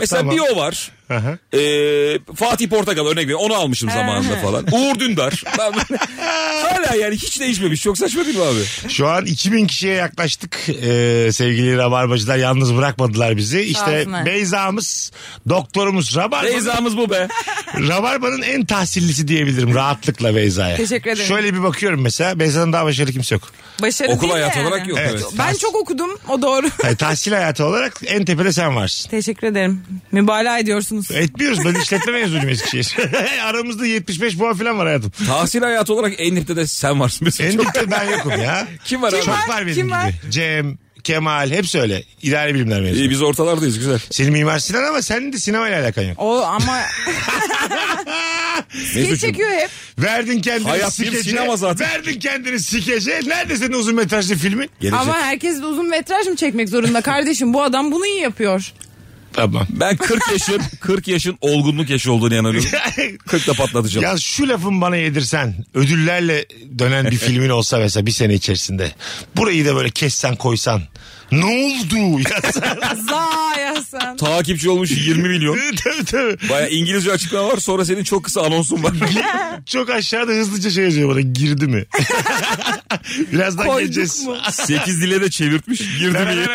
Mesela
Tamam.
bir o var.
Aha.
Ee, Fatih Portakal örnek veriyorum. Onu almışım zamanında falan. Uğur Dündar. Ben- Hala yani hiç değişmemiş. Çok saçma değil mi abi?
Şu an 2000 kişiye yaklaştık ee, sevgili Rabarbacılar. Yalnız bırakmadılar bizi. İşte
olsunlar.
Beyza'mız, doktorumuz Rabarba.
Beyza'mız bu be.
Rabarba'nın en tahsillisi diyebilirim rahatlıkla Beyza'ya.
Teşekkür ederim.
Şöyle bir bakıyorum mesela. Beyza'nın daha başarılı kimse yok.
Başarı
Okul
değil de
hayatı
yani.
olarak yok.
Evet.
Evet.
Ben çok okudum. O doğru.
Yani tahsil hayatı olarak en tepede sen varsın.
Teşekkür ederim. Mübalağa ediyorsunuz.
Etmiyoruz. Ben işletme mezunuyum Eskişehir. Aramızda 75 puan falan var hayatım.
Tahsil hayatı olarak en dipte de sen varsın. Mesela.
En
Çok-
dipte ben yokum ya.
Kim var abi?
Çok var benim
Kim
gibi.
var?
Cem, Kemal hepsi öyle. İdari bilimler mezunu.
İyi biz ortalardayız güzel.
Senin Mimar Sinan ama senin de sinemayla alakan yok.
O ama
Mesut'cum,
Geç çekiyor hep.
Verdin kendini
Hayat bir
sikece.
sinema zaten.
Verdin kendini sikece. Nerede senin uzun metrajlı filmin?
gelecek.
Ama herkes de uzun metraj mı çekmek zorunda kardeşim? Bu adam bunu iyi yapıyor.
Tamam.
Ben 40 yaşın 40 yaşın olgunluk yaşı olduğunu inanıyorum. 40'la patlatacağım.
ya şu lafın bana yedirsen ödüllerle dönen bir filmin olsa mesela bir sene içerisinde. Burayı da böyle kessen koysan. Ne oldu? Yazsan.
Zaya sen.
Takipçi olmuş 20 milyon.
tabii tabii.
Baya İngilizce açıklama var sonra senin çok kısa anonsun var.
Çok aşağıda hızlıca şey yazıyor bana girdi mi? Birazdan
Koyduk
geleceğiz.
mu?
8 dile de çevirtmiş. Girdi mi?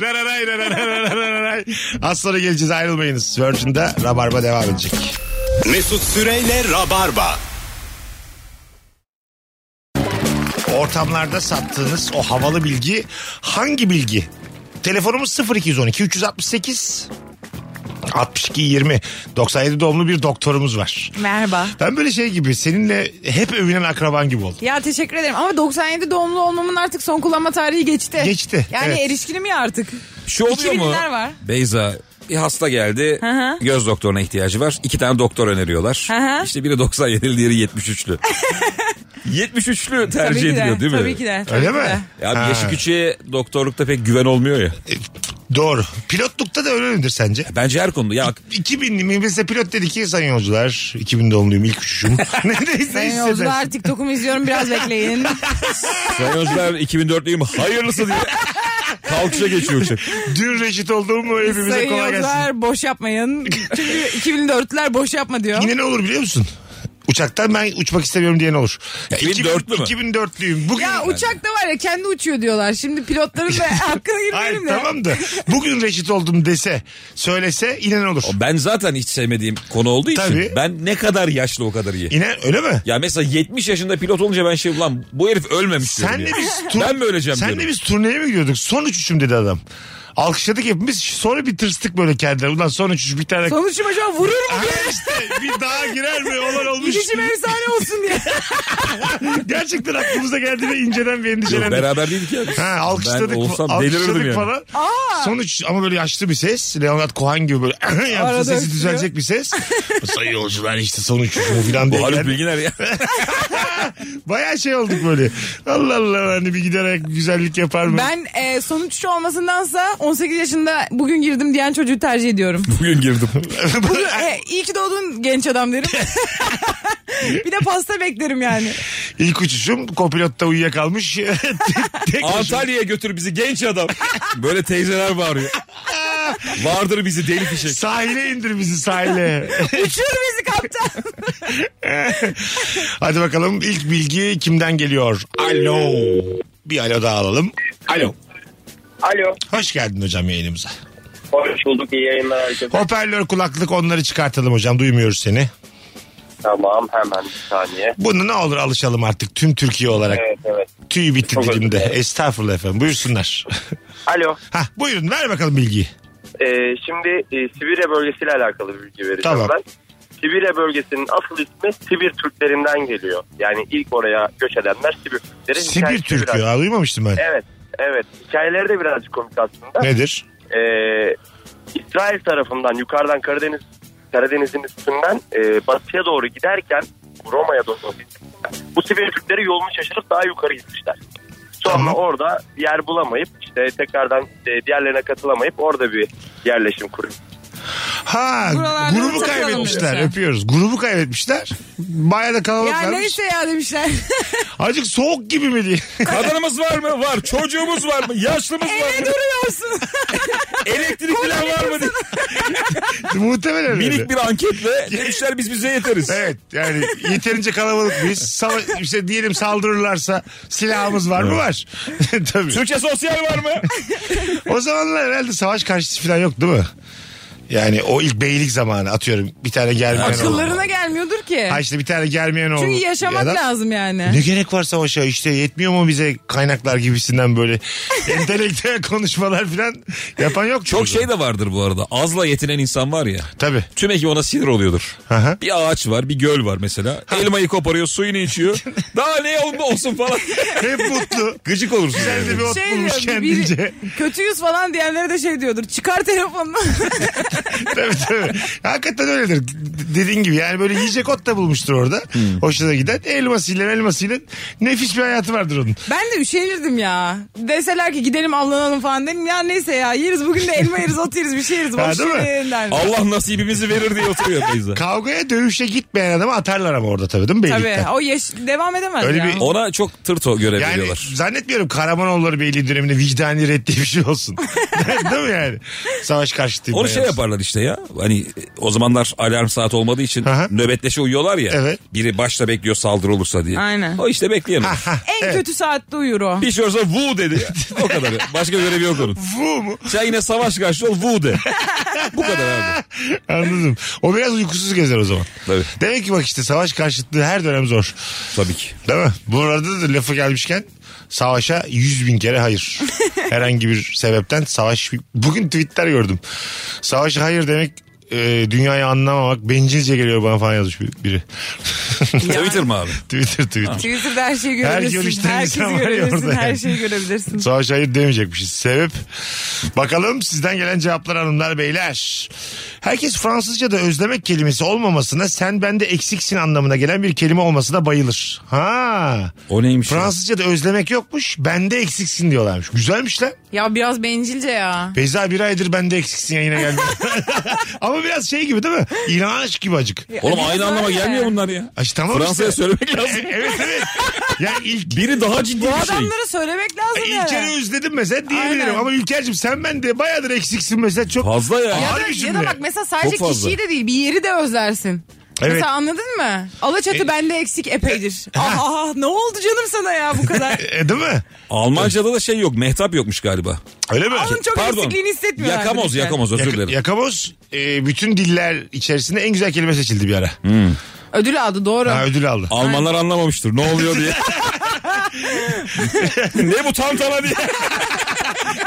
Rarararay, rarararay, rarararay. Az sonra geleceğiz ayrılmayınız. Virgin'de Rabarba devam edecek.
Mesut Süreyle Rabarba.
Ortamlarda sattığınız o havalı bilgi hangi bilgi? Telefonumuz 0212 368 62 20 97 doğumlu bir doktorumuz var.
Merhaba.
Ben böyle şey gibi seninle hep övünen akraban gibi oldum.
Ya teşekkür ederim ama 97 doğumlu olmamın artık son kullanma tarihi geçti.
Geçti,
Yani
evet.
erişkinim ya artık.
Şu şey oluyor
İki
mu?
binler var.
Beyza bir hasta geldi.
hı.
Göz doktoruna ihtiyacı var. İki tane doktor öneriyorlar.
Hı hı.
İşte biri 97'li diğeri 73'lü. 73'lü
Tabii
tercih
ki de,
ediliyor değil mi?
Tabii ki de. tabii
Öyle
ki
mi?
de.
Ya
Ha.
yaşı küçüğe doktorlukta pek güven olmuyor ya. E,
Doğru. Pilotlukta da öyle midir sence?
Bence her konuda. Ya
2000 mi? Mesela pilot dedi ki sayın yolcular 2000 doğumluyum ilk uçuşum. Neredeyse
Sayın yolcular TikTok'umu izliyorum biraz bekleyin.
sayın hocalar 2004'lüyüm hayırlısı diye. Kalkışa geçiyor uçak.
Dün reşit olduğum hepimize
Sayın
kolay gelsin.
yolcular boş yapmayın. Çünkü 2004'lüler boş yapma diyor.
Yine ne olur biliyor musun? Uçaktan ben uçmak istemiyorum diyen olur. Ya
2004'lü mü?
2004'lüyüm. Bugün...
Ya uçak da var ya kendi uçuyor diyorlar. Şimdi pilotların da hakkını
Hayır
girmeyelim de.
tamam da bugün reşit oldum dese söylese inen olur.
Ben zaten hiç sevmediğim konu olduğu için
Tabii.
ben ne kadar yaşlı o kadar iyi.
İnen öyle mi?
Ya mesela 70 yaşında pilot olunca ben şey ulan bu herif ölmemiş diyorum
Senle
ya.
biz, tur-
Ben mi öleceğim
senle
diyorum.
biz turneye mi gidiyorduk? Son uçuşum dedi adam. Alkışladık hepimiz. Sonra bir tırstık böyle kendileri. Ulan son uçuş bir tane.
Sonuçum acaba vurur mu?
Ha işte bir daha girer mi? Olan olmuş.
Gidişim efsane olsun diye.
Gerçekten aklımıza geldi ve inceden bir
Yok,
endişelendik.
beraber değildik ya. biz.
Ha, alkışladık,
Ben olsam
alkışladık
delirirdim yani.
falan. Sonuç ama böyle yaşlı bir ses. Leonard Cohen gibi böyle yapsa
Arada
sesi
öksürüyor.
düzelecek bir ses. Sayın yolcular işte sonuç bu falan diye.
Bu Haluk
geldi.
Bilginer ya.
Baya şey olduk böyle. Allah Allah hani bir gider ayak güzellik yapar mı?
Ben e, sonuççu olmasındansa 18 yaşında bugün girdim diyen çocuğu tercih ediyorum.
Bugün girdim.
Bugün, e, iyi ki doğdun genç adam derim. bir de pasta beklerim yani.
İlk uçuşum kopilotta uyuyakalmış. Tek- Tek başıma.
Antalya'ya götür bizi genç adam. Böyle teyzeler bağırıyor. Vardır bizi deli fişek.
Sahile indir bizi sahile.
Uçur bizi kaptan.
Hadi bakalım ilk bilgi kimden geliyor? Alo. Bir alo daha alalım. Alo.
Alo.
Hoş geldin hocam yayınımıza.
Hoş bulduk. İyi yayınlar herkese.
Hoparlör kulaklık onları çıkartalım hocam duymuyoruz seni.
Tamam hemen bir saniye.
Bunu ne olur alışalım artık tüm Türkiye olarak.
Evet evet.
Tüy bitti
Çok özür
dilimde.
dilerim.
Estağfurullah efendim buyursunlar.
Alo.
Hah buyurun ver bakalım bilgiyi.
Ee, şimdi e, Sibirya bölgesiyle alakalı bir bilgi vereceğim
Tamam.
ben. Sibirya bölgesinin asıl ismi Sibir Türklerinden geliyor. Yani ilk oraya göç edenler Sibir Türkleri.
Sibir
Hikayesi
Türk'ü
biraz-
ha, duymamıştım ben.
Evet, evet. Hikayeleri de birazcık komik aslında.
Nedir?
Ee, İsrail tarafından yukarıdan Karadeniz Karadeniz'in üstünden e, batıya doğru giderken Roma'ya doğru giderken, bu Sibir Türkleri yolunu şaşırıp daha yukarı gitmişler. Sonra
Tamam.
orada yer bulamayıp işte tekrardan e, diğerlerine katılamayıp orada bir yerleşim kuruyor.
Ha
Buralarda
grubu
uçak
kaybetmişler
alamıyoruz.
öpüyoruz. Grubu kaybetmişler. Bayağı da
ya
kalabalıklarmış.
neyse ya demişler.
Azıcık soğuk gibi mi diye.
Kadınımız var mı? Var. Çocuğumuz var mı? Yaşlımız var
Ne
mı?
duruyorsun?
Elektrik falan var mı? diye.
Muhtemelen öyle.
Minik bir anketle demişler biz bize yeteriz.
Evet yani yeterince kalabalık biz. Sava işte diyelim saldırırlarsa silahımız var mı? Var. Tabii.
Türkçe sosyal var mı?
O zamanlar herhalde savaş karşıtı falan yok değil mi? Yani o ilk beylik zamanı atıyorum. Bir tane gelmeyen oğlu.
Akıllarına gelmiyordur ki.
Ha işte bir tane gelmeyen oğlu.
Çünkü
ya
yaşamak
da-
lazım yani.
Ne gerek var savaşa işte yetmiyor mu bize kaynaklar gibisinden böyle entelektüel konuşmalar falan yapan yok.
Çok şey de vardır bu arada. Azla yetinen insan var ya.
Tabii.
Tüm ekip ona sinir oluyordur.
Aha.
Bir ağaç var, bir göl var mesela. Elmayı koparıyor, suyunu içiyor. Daha ne olma olsun falan.
Hep mutlu.
Gıcık olursun.
Güzel de
yani.
bir ot
Şey
bulmuş
diyor, bir-
kendince.
kötü yüz falan diyenlere de şey diyordur. Çıkar telefonunu.
tabii tabii. Hakikaten öyledir. D- Dediğin gibi yani böyle yiyecek ot da bulmuştur orada.
Hmm.
Hoşuna giden. Elmasıyla elmasıyla nefis bir hayatı vardır onun.
ben de üşenirdim ya. Deseler ki gidelim avlanalım falan dedim. Ya neyse ya yeriz bugün de elma yeriz ot yeriz bir şey yeriz.
Ha,
Boş
değil mi?
verin derdim.
Allah nasibimizi verir diye oturuyor teyze.
Kavgaya dövüşe gitmeyen adamı atarlar ama orada tabii değil mi? Beylikten.
Tabii o yaş devam edemez
Öyle
ya.
bir-
Ona çok tırto görev
Yani
veriyorlar.
zannetmiyorum Karamanoğulları Beyliği döneminde vicdani red diye bir şey olsun. Değil mi yani? Savaş karşıtı.
Onu şey yaparlar işte ya. Hani o zamanlar alarm saat olmadığı için
Aha.
nöbetleşe uyuyorlar ya.
Evet.
Biri başta bekliyor saldırı olursa diye.
Aynen.
O işte bekleyemez.
En kötü saatte uyur o.
Bir şey olursa vu dedi. o kadar. Başka görevi yok onun.
Bu mu?
Sen yine savaş karşıtı ol vu de. Bu kadar abi.
Anladım. O biraz uykusuz gezer o zaman.
Tabii.
Demek ki bak işte savaş karşıtlığı her dönem zor.
Tabii ki.
Değil mi? Bu arada da lafı gelmişken savaşa yüz bin kere hayır. Herhangi bir sebepten savaş... Bugün tweetler gördüm. Savaşa hayır demek e, dünyayı anlamamak bencilce geliyor bana falan yazmış bir- biri.
Twitter mı abi?
Twitter Twitter.
Twitter'da her şeyi
Her
görebilirsin.
görüşten
Herkesi
insan var ya
görebilirsin.
orada
Her
yani.
şeyi görebilirsin.
Savaş hayır demeyecekmişiz. Sebep. Bakalım sizden gelen cevaplar hanımlar beyler. Herkes Fransızca'da özlemek kelimesi olmamasına sen bende eksiksin anlamına gelen bir kelime olmasına bayılır. Ha.
O neymiş?
Fransızca'da özlemek yokmuş bende eksiksin diyorlarmış. Güzelmiş lan.
Ya biraz bencilce ya.
Beyza bir aydır bende eksiksin yayına gelmiyor. Ama biraz şey gibi değil mi? İnanç gibi acık.
ya?
E,
Oğlum aynı anlama gelmiyor bunlar ya.
Ay, işte tamam
Fransa'ya
işte.
söylemek lazım.
evet evet. Yani ilk
Biri daha ciddi bir şey.
Adamlara söylemek
E,
lazım yani.
İlker'i özledim mesela diyebilirim
Aynen.
ama İlker'cim sen bende bayağıdır eksiksin mesela çok
Fazla ya.
Ya da,
Harbi
ya
şimdi.
da bak mesela sadece
Çok fazla.
kişiyi de değil bir yeri de özlersin.
Evet.
Mesela anladın mı? Alaçatı bende eksik epeydir. Aha ne oldu canım sana ya bu kadar?
E, değil mi?
Almanca'da da şey yok. Mehtap yokmuş galiba.
Öyle mi?
Onun çok
Pardon.
eksikliğini hissetmiyorlar.
Yakamoz
bir de.
yakamoz özür
Yak-
dilerim.
yakamoz e, bütün diller içerisinde en güzel kelime seçildi bir ara.
Ödül aldı doğru.
Ha, ödül aldı.
Almanlar anlamamıştır. Ne oluyor diye. ne bu tantana diye.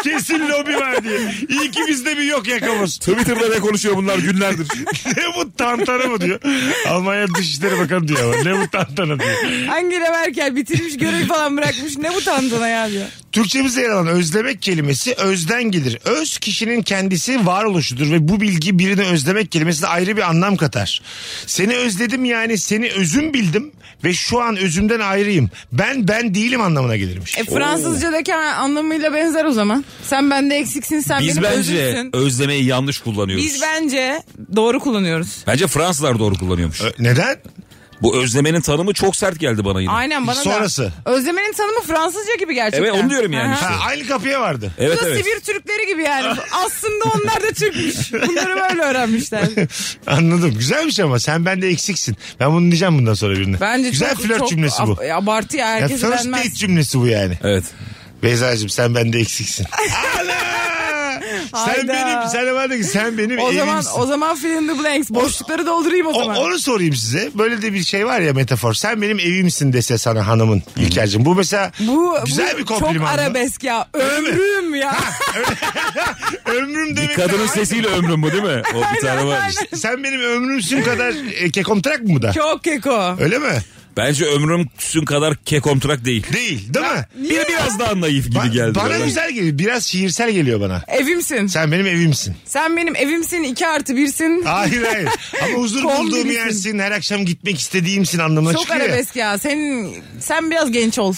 Kesin lobi var diye. İyi ki bizde bir yok yakamoz.
Twitter'da ne konuşuyor bunlar günlerdir.
ne bu tantana mı diyor. Almanya Dışişleri Bakanı diyor ama. Ne bu tangana diyor.
Angela Merkel bitirmiş görev falan bırakmış. Ne bu tantana ya diyor.
Türkçemizde yer alan özlemek kelimesi özden gelir. Öz kişinin kendisi varoluşudur ve bu bilgi birine özlemek kelimesine ayrı bir anlam katar. Seni özledim yani seni özüm bildim ve şu an özümden ayrıyım. Ben ben değilim anlamına gelirmiş.
E, Fransızcadaki anlamıyla benzer o zaman. Sen bende eksiksin sen
Biz
benim
bence
özümsün.
özlemeyi yanlış kullanıyoruz.
Biz bence doğru kullanıyoruz.
Bence Fransızlar doğru kullanıyormuş.
Ö- Neden?
Bu özlemenin tanımı çok sert geldi bana yine.
Aynen bana
Sonrası.
da. Özlemenin tanımı Fransızca gibi gerçekten.
Evet onu diyorum yani
Aha.
işte.
Ha, aynı kapıya vardı.
Evet
Bu da
evet.
Sibir Türkleri gibi yani. Aslında onlar da Türkmüş. Bunları böyle öğrenmişler.
Anladım. Güzelmiş ama sen bende eksiksin. Ben bunu diyeceğim bundan sonra birine.
Bence
Güzel
çok,
flört
çok
cümlesi bu.
ab- Abartı ya
Ya
herkes
first
beğenmez.
date cümlesi bu yani.
Evet.
Beyza'cığım sen bende eksiksin. Ana! sen
Hayda.
benim, sen de bana de ki sen benim
O zaman
evimsin.
o zaman fill in the blanks. Boşlukları doldurayım o
O-
zaman.
onu sorayım size. Böyle de bir şey var ya metafor. Sen benim evimsin dese sana hanımın İlker'cim. Bu mesela
bu,
güzel
bu
bir kompliman.
Çok
mı?
arabesk ya. Ömrüm ya.
Ömrüm
Bir
demek.
kadının sesiyle ömrüm bu değil mi? O bir tane var işte.
Sen benim ömrümsün kadar e, kekomtrak mı bu da?
Çok keko.
Öyle mi?
Bence ömrümsün kadar kekomtrak değil.
Değil değil mi?
Bir biraz daha naif gibi
Ba-
geldi.
bana
bana.
güzel geliyor. Biraz şiirsel geliyor bana.
Evimsin. Sen,
Sen benim evimsin.
benim evimsin. iki artı birsin.
Hayır hayır. Ama huzur
Kombi
bulduğum
misin?
yersin. Her akşam gitmek istediğimsin anlamına
Çok
çıkıyor. ya.
arabesk ya. Sen sen biraz genç ol.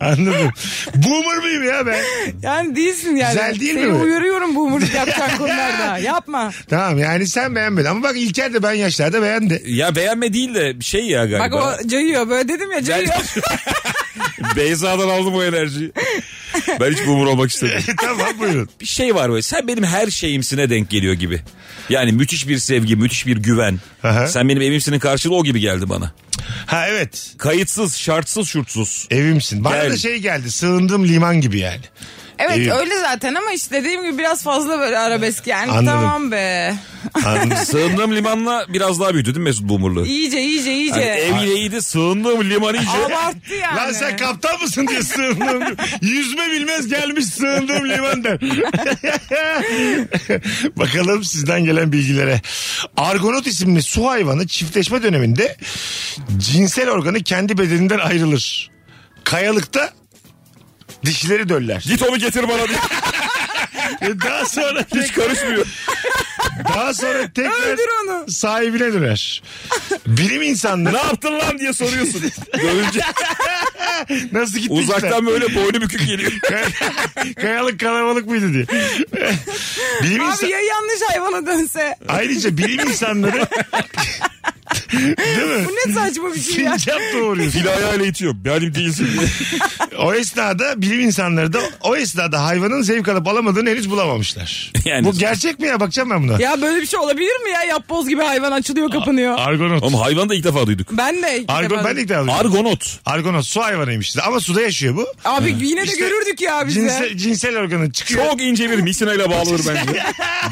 Anladım. Boomer mıyım ya ben?
yani değilsin yani.
Güzel değil
Seni
mi?
uyarıyorum bu umurluk yapacak konularda. Yapma.
Tamam yani sen beğenmedin. Ama bak İlker de ben yaşlarda beğendi.
Ya beğenme değil de şey ya
Bak
galiba.
o cayıyor. Böyle dedim ya cayıyor.
Beyza'dan aldım o enerjiyi. Ben hiç boomer olmak istedim.
tamam buyurun.
Bir şey var böyle sen benim her şeyimsine denk geliyor gibi. Yani müthiş bir sevgi, müthiş bir güven.
Aha.
Sen benim evimsinin karşılığı o gibi geldi bana.
Ha evet.
Kayıtsız, şartsız, şurtsuz.
Evimsin. Bana
Gel.
da şey geldi. Sığındığım liman gibi yani.
Evet
İyi.
öyle zaten ama işte dediğim gibi biraz fazla böyle arabesk yani.
Anladım.
Tamam be.
Anladın?
Sığındığım limanla biraz daha büyüdü değil mi Mesut Boomer'lığı? Hani
İyice iyice iyice.
Yani ev yine iyiydi, sığındığım liman iyice.
Abarttı yani.
Lan sen kaptan mısın diye sığındığım yüzme bilmez gelmiş sığındığım liman der. Bakalım sizden gelen bilgilere. Argonot isimli su hayvanı çiftleşme döneminde cinsel organı kendi bedeninden ayrılır. Kayalıkta dişleri döller.
Git onu getir bana diye.
E daha sonra
Hiç karışmıyor.
daha sonra tekrar
Öldür onu.
sahibine döner. Bilim insanları
ne yaptın lan diye soruyorsun. Görünce
nasıl gitti
uzaktan böyle boynu bükük geliyor.
işler? Kayalık kalabalık mıydı diye. Bilim insan-
Abi ya yanlış hayvana dönse.
Ayrıca bilim insanları değil mi?
Bu ne saçma bir şey ya.
Sincap doğuruyor.
Fil ayağıyla itiyor. Yani değilsin diye.
O esnada bilim insanları da o esnada hayvanın zevk alıp alamadığını henüz bulamamışlar.
Yani-
Bu gerçek mi ya? Bakacağım ben buna.
Ya böyle bir şey olabilir mi ya? Yapboz gibi hayvan açılıyor kapanıyor.
Argonot.
Oğlum hayvan da ilk defa duyduk.
ben de. iki
Argon,
defa-
ben de ilk defa duydum.
Argonot.
Argonot su hayvanıymış. Ama suda yaşıyor bu.
Abi yine de
İşte
görürdük ya biz
Cinsel, cinsel organı çıkıyor.
Çok ince bir misinayla bağlıdır bence.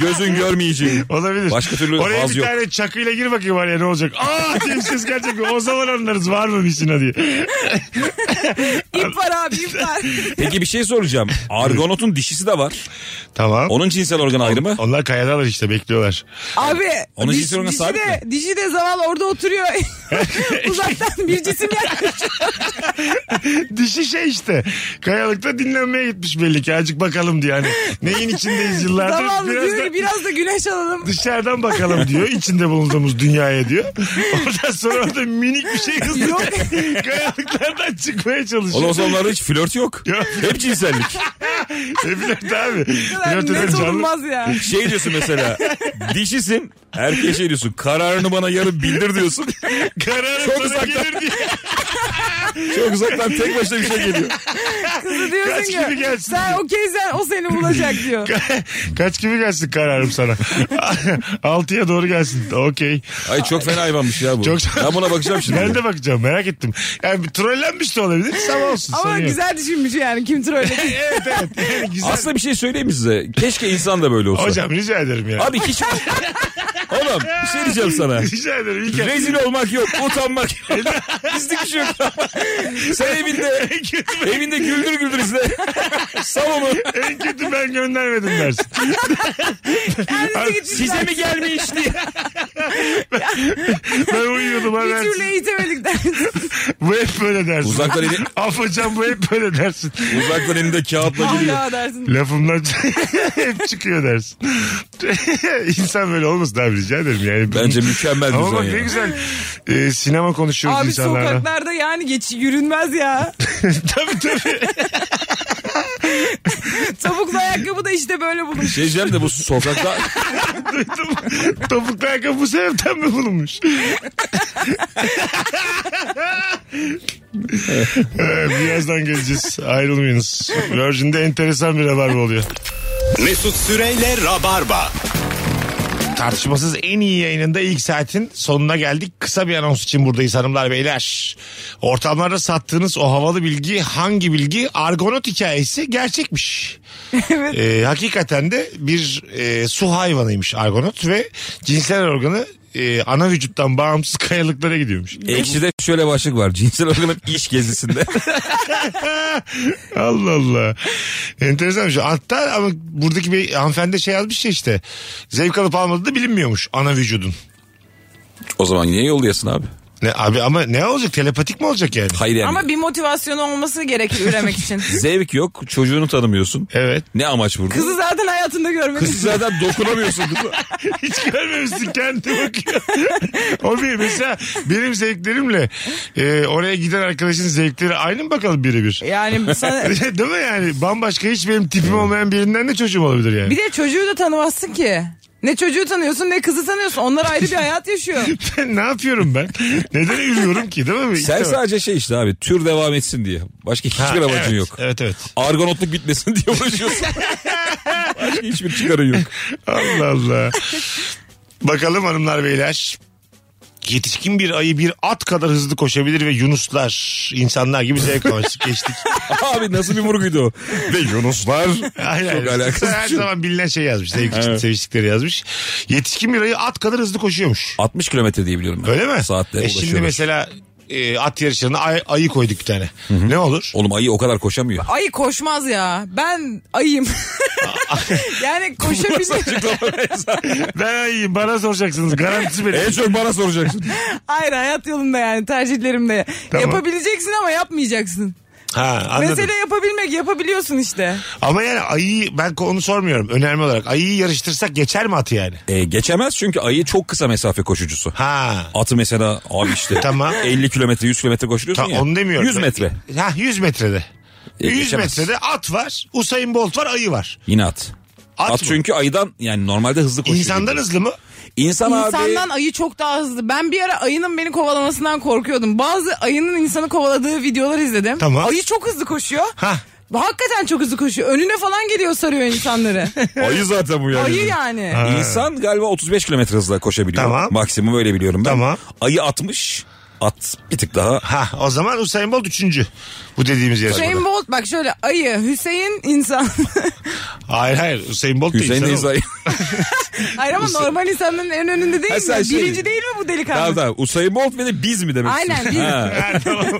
Gözün görmeyeceği.
Olabilir.
Başka türlü
Oraya
vaz
bir
yok.
tane çakıyla gir bakayım araya ne olacak. Aa diye bir ses gelecek mi? O zaman anlarız var mı bir sina diye.
İp var abi ip var.
Peki bir şey soracağım. Argonot'un dişisi de var.
Tamam.
Onun cinsel organ ayrımı.
Onlar kayadalar işte bekliyorlar.
Abi
Onun
diş-
cinsi organı
dişi
sabit
de, dişi de zavallı orada oturuyor. Uzaktan bir cisim yaklaşıyor.
Dişi şey işte. Kayalıkta dinlenmeye gitmiş belli ki. Azıcık bakalım diyor. Hani neyin içindeyiz yıllardır.
Zavallı
biraz
diyor
da
ki biraz da güneş alalım.
dışarıdan bakalım diyor. içinde bulunduğumuz dünyaya diyor. Ondan sonra orada minik bir şey hızlı
Yok.
kayalıklardan çıkmaya çalışıyor.
Oğlum o zaman onlarda hiç flört yok.
Yok.
Hep cinsellik.
Hepler de abi. Flört eden
Net
canlı.
olunmaz ya.
Şey diyorsun mesela. Dişisin. Erkeğe şey diyorsun. Kararını bana yarın bildir diyorsun.
Kararı
Çok
sana
uzaktan.
gelir diye.
Çok uzaktan tek başına bir şey geliyor.
Kızı diyorsun
Kaç
ki
gibi gelsin
sen
diyor.
okeysen o seni bulacak diyor.
Kaç gibi gelsin kararım sana? Altıya doğru gelsin. Okey.
Ay çok fena hayvanmış ya bu.
Çok-
Ben buna bakacağım şimdi.
Ben de bakacağım merak ettim. Yani bir trollenmiş de olabilir. Sağ olsun.
Ama
sorun yok.
güzel düşünmüş yani kim trolledi.
Evet evet. Yani güzel.
Aslında bir şey söyleyeyim mi size? Keşke insan da böyle olsa.
Hocam rica ederim ya.
Abi hiç... Oğlum oğlum bir şey diyeceğim sana.
Rica ederim İlker.
Rezil olmak yok, utanmak yok. Bizlik bir şey yok. Sen evinde, evinde güldür güldür izle. Sav onu.
en kötü ben göndermedim dersin.
Size mi gelmiş diye.
Ben uyuyordum ha
Bir türlü
dersin.
eğitemedik dersin.
Bu hep böyle dersin.
Uzaktan eli-
Afacan bu hep böyle dersin.
Uzaktan elinde kağıtla giriyor.
Hala dersin.
Lafımdan hep çıkıyor dersin. İnsan böyle olmasın abi rica ederim yani.
Bence mükemmel bir
Ama
düzen
bak
ya.
ne güzel e, sinema konuşuyoruz
Abi
insanlarla.
sokaklarda yani geç yürünmez ya.
tabii tabii.
Topuklu ayakkabı da işte böyle bulmuş.
Şey diyeceğim de bu sokakta
Topuklu ayakkabı bu sebepten mi bulunmuş? Ee, Birazdan geleceğiz. Ayrılmayınız. Virgin'de enteresan bir haber oluyor.
Mesut Süreyle Rabarba.
Tartışmasız en iyi yayınında ilk saatin sonuna geldik. Kısa bir anons için buradayız hanımlar beyler. Ortamlarda sattığınız o havalı bilgi hangi bilgi? Argonot hikayesi gerçekmiş.
Evet.
Ee, hakikaten de bir e, su hayvanıymış argonot ve cinsel organı e, ana vücuttan bağımsız kayalıklara gidiyormuş.
ekşide şöyle başlık var. Cinsel organın iş gezisinde.
Allah Allah. Enteresan bir şey. Hatta ama buradaki bir hanımefendi şey yazmış ya işte. Zevk alıp almadığı da bilinmiyormuş ana vücudun.
o zaman niye yoldayasın abi?
Ne abi ama ne olacak? Telepatik mi olacak yani?
Hayır yani.
Ama bir motivasyonu olması gerekir üremek için.
Zevk yok, çocuğunu tanımıyorsun.
Evet.
Ne amaç burada?
Kızı zaten hayatında görmedim.
Kızı zaten dokunamıyorsun.
Hiç görmemişsin kendi bakıyor. o bir mesela benim zevklerimle e, oraya giden arkadaşın zevkleri aynı mı bakalım birebir?
Yani sana...
Değil mi yani? Bambaşka hiç benim tipim olmayan birinden de çocuğum olabilir yani.
Bir de çocuğu da tanımazsın ki. Ne çocuğu tanıyorsun ne kızı tanıyorsun. Onlar ayrı bir hayat yaşıyor.
Ben ne yapıyorum ben? Neden yürüyorum ki değil mi?
Sen
İşte bak.
sadece şey işte abi tür devam etsin diye. Başka hiçbir
Ha,
amacın
evet,
yok.
Evet evet.
Argonotluk bitmesin diye uğraşıyorsun. Başka hiçbir çıkarı yok.
Allah Allah. Bakalım hanımlar beyler. Yetişkin bir ayı bir at kadar hızlı koşabilir ve Yunuslar insanlar gibi zevk almıştık geçtik.
Abi nasıl bir vurguydu o? Ve Yunuslar.
Aynen.
Çok alakasız.
Her
bir şey.
zaman bilinen şey yazmış. Zevk için seviştikleri yazmış. Yetişkin bir ayı at kadar hızlı koşuyormuş.
60 kilometre diye biliyorum ben.
Öyle mi?
Saatlere
E
ulaşıyormuş.
şimdi mesela e, at yarışlarına ay- ayı koyduk bir tane. Ne olur?
Oğlum ayı o kadar koşamıyor.
Ayı koşmaz ya. Ben ayım. yani koşabilir.
ben ayıyım bana soracaksınız. Garantisi benim.
en çok bana soracaksın.
Hayır hayat yolunda yani tercihlerimde.
Tamam.
Yapabileceksin ama yapmayacaksın.
ha, anladım.
Mesele yapabilmek yapabiliyorsun işte.
Ama yani ayıyı ben onu sormuyorum. Önemli olarak ayıyı yarıştırsak geçer mi atı yani?
E, geçemez çünkü ayı çok kısa mesafe koşucusu.
Ha.
Atı mesela abi işte
Tamam.
50 kilometre 100 kilometre koşuyorsun
Ta,
ya.
onu demiyorum.
100 metre.
Ha 100 metrede.
E,
100
geçemez.
metrede at var. Usain Bolt var, ayı var.
Yine at.
At,
At,
mı?
çünkü ayıdan yani normalde hızlı koşuyor.
İnsandan hızlı mı?
İnsan abi.
İnsandan ayı çok daha hızlı. Ben bir ara ayının beni kovalamasından korkuyordum. Bazı ayının insanı kovaladığı videolar izledim.
Tamam.
Ayı çok hızlı koşuyor.
Hah.
Hakikaten çok hızlı koşuyor. Önüne falan geliyor sarıyor insanları.
Ayı zaten bu yani.
ayı yani.
İnsan galiba 35 kilometre hızla koşabiliyor.
Tamam.
Maksimum öyle biliyorum ben.
Tamam.
Ayı 60. At bir tık daha.
Ha o zaman Usain Bolt üçüncü. Bu dediğimiz yarışmada.
Usain Bolt bak şöyle ayı, Hüseyin insan.
Hayır hayır Usain Bolt
Hüseyin de
değil.
İzay.
Hayır ama normal insanların en önünde değil
Ha, sen
mi?
şey-
Birinci değil mi bu delikanlı?
tamam tamam. Usain Bolt ve de biz mi demek
Aynen,
istiyorsun? Ha.
biz.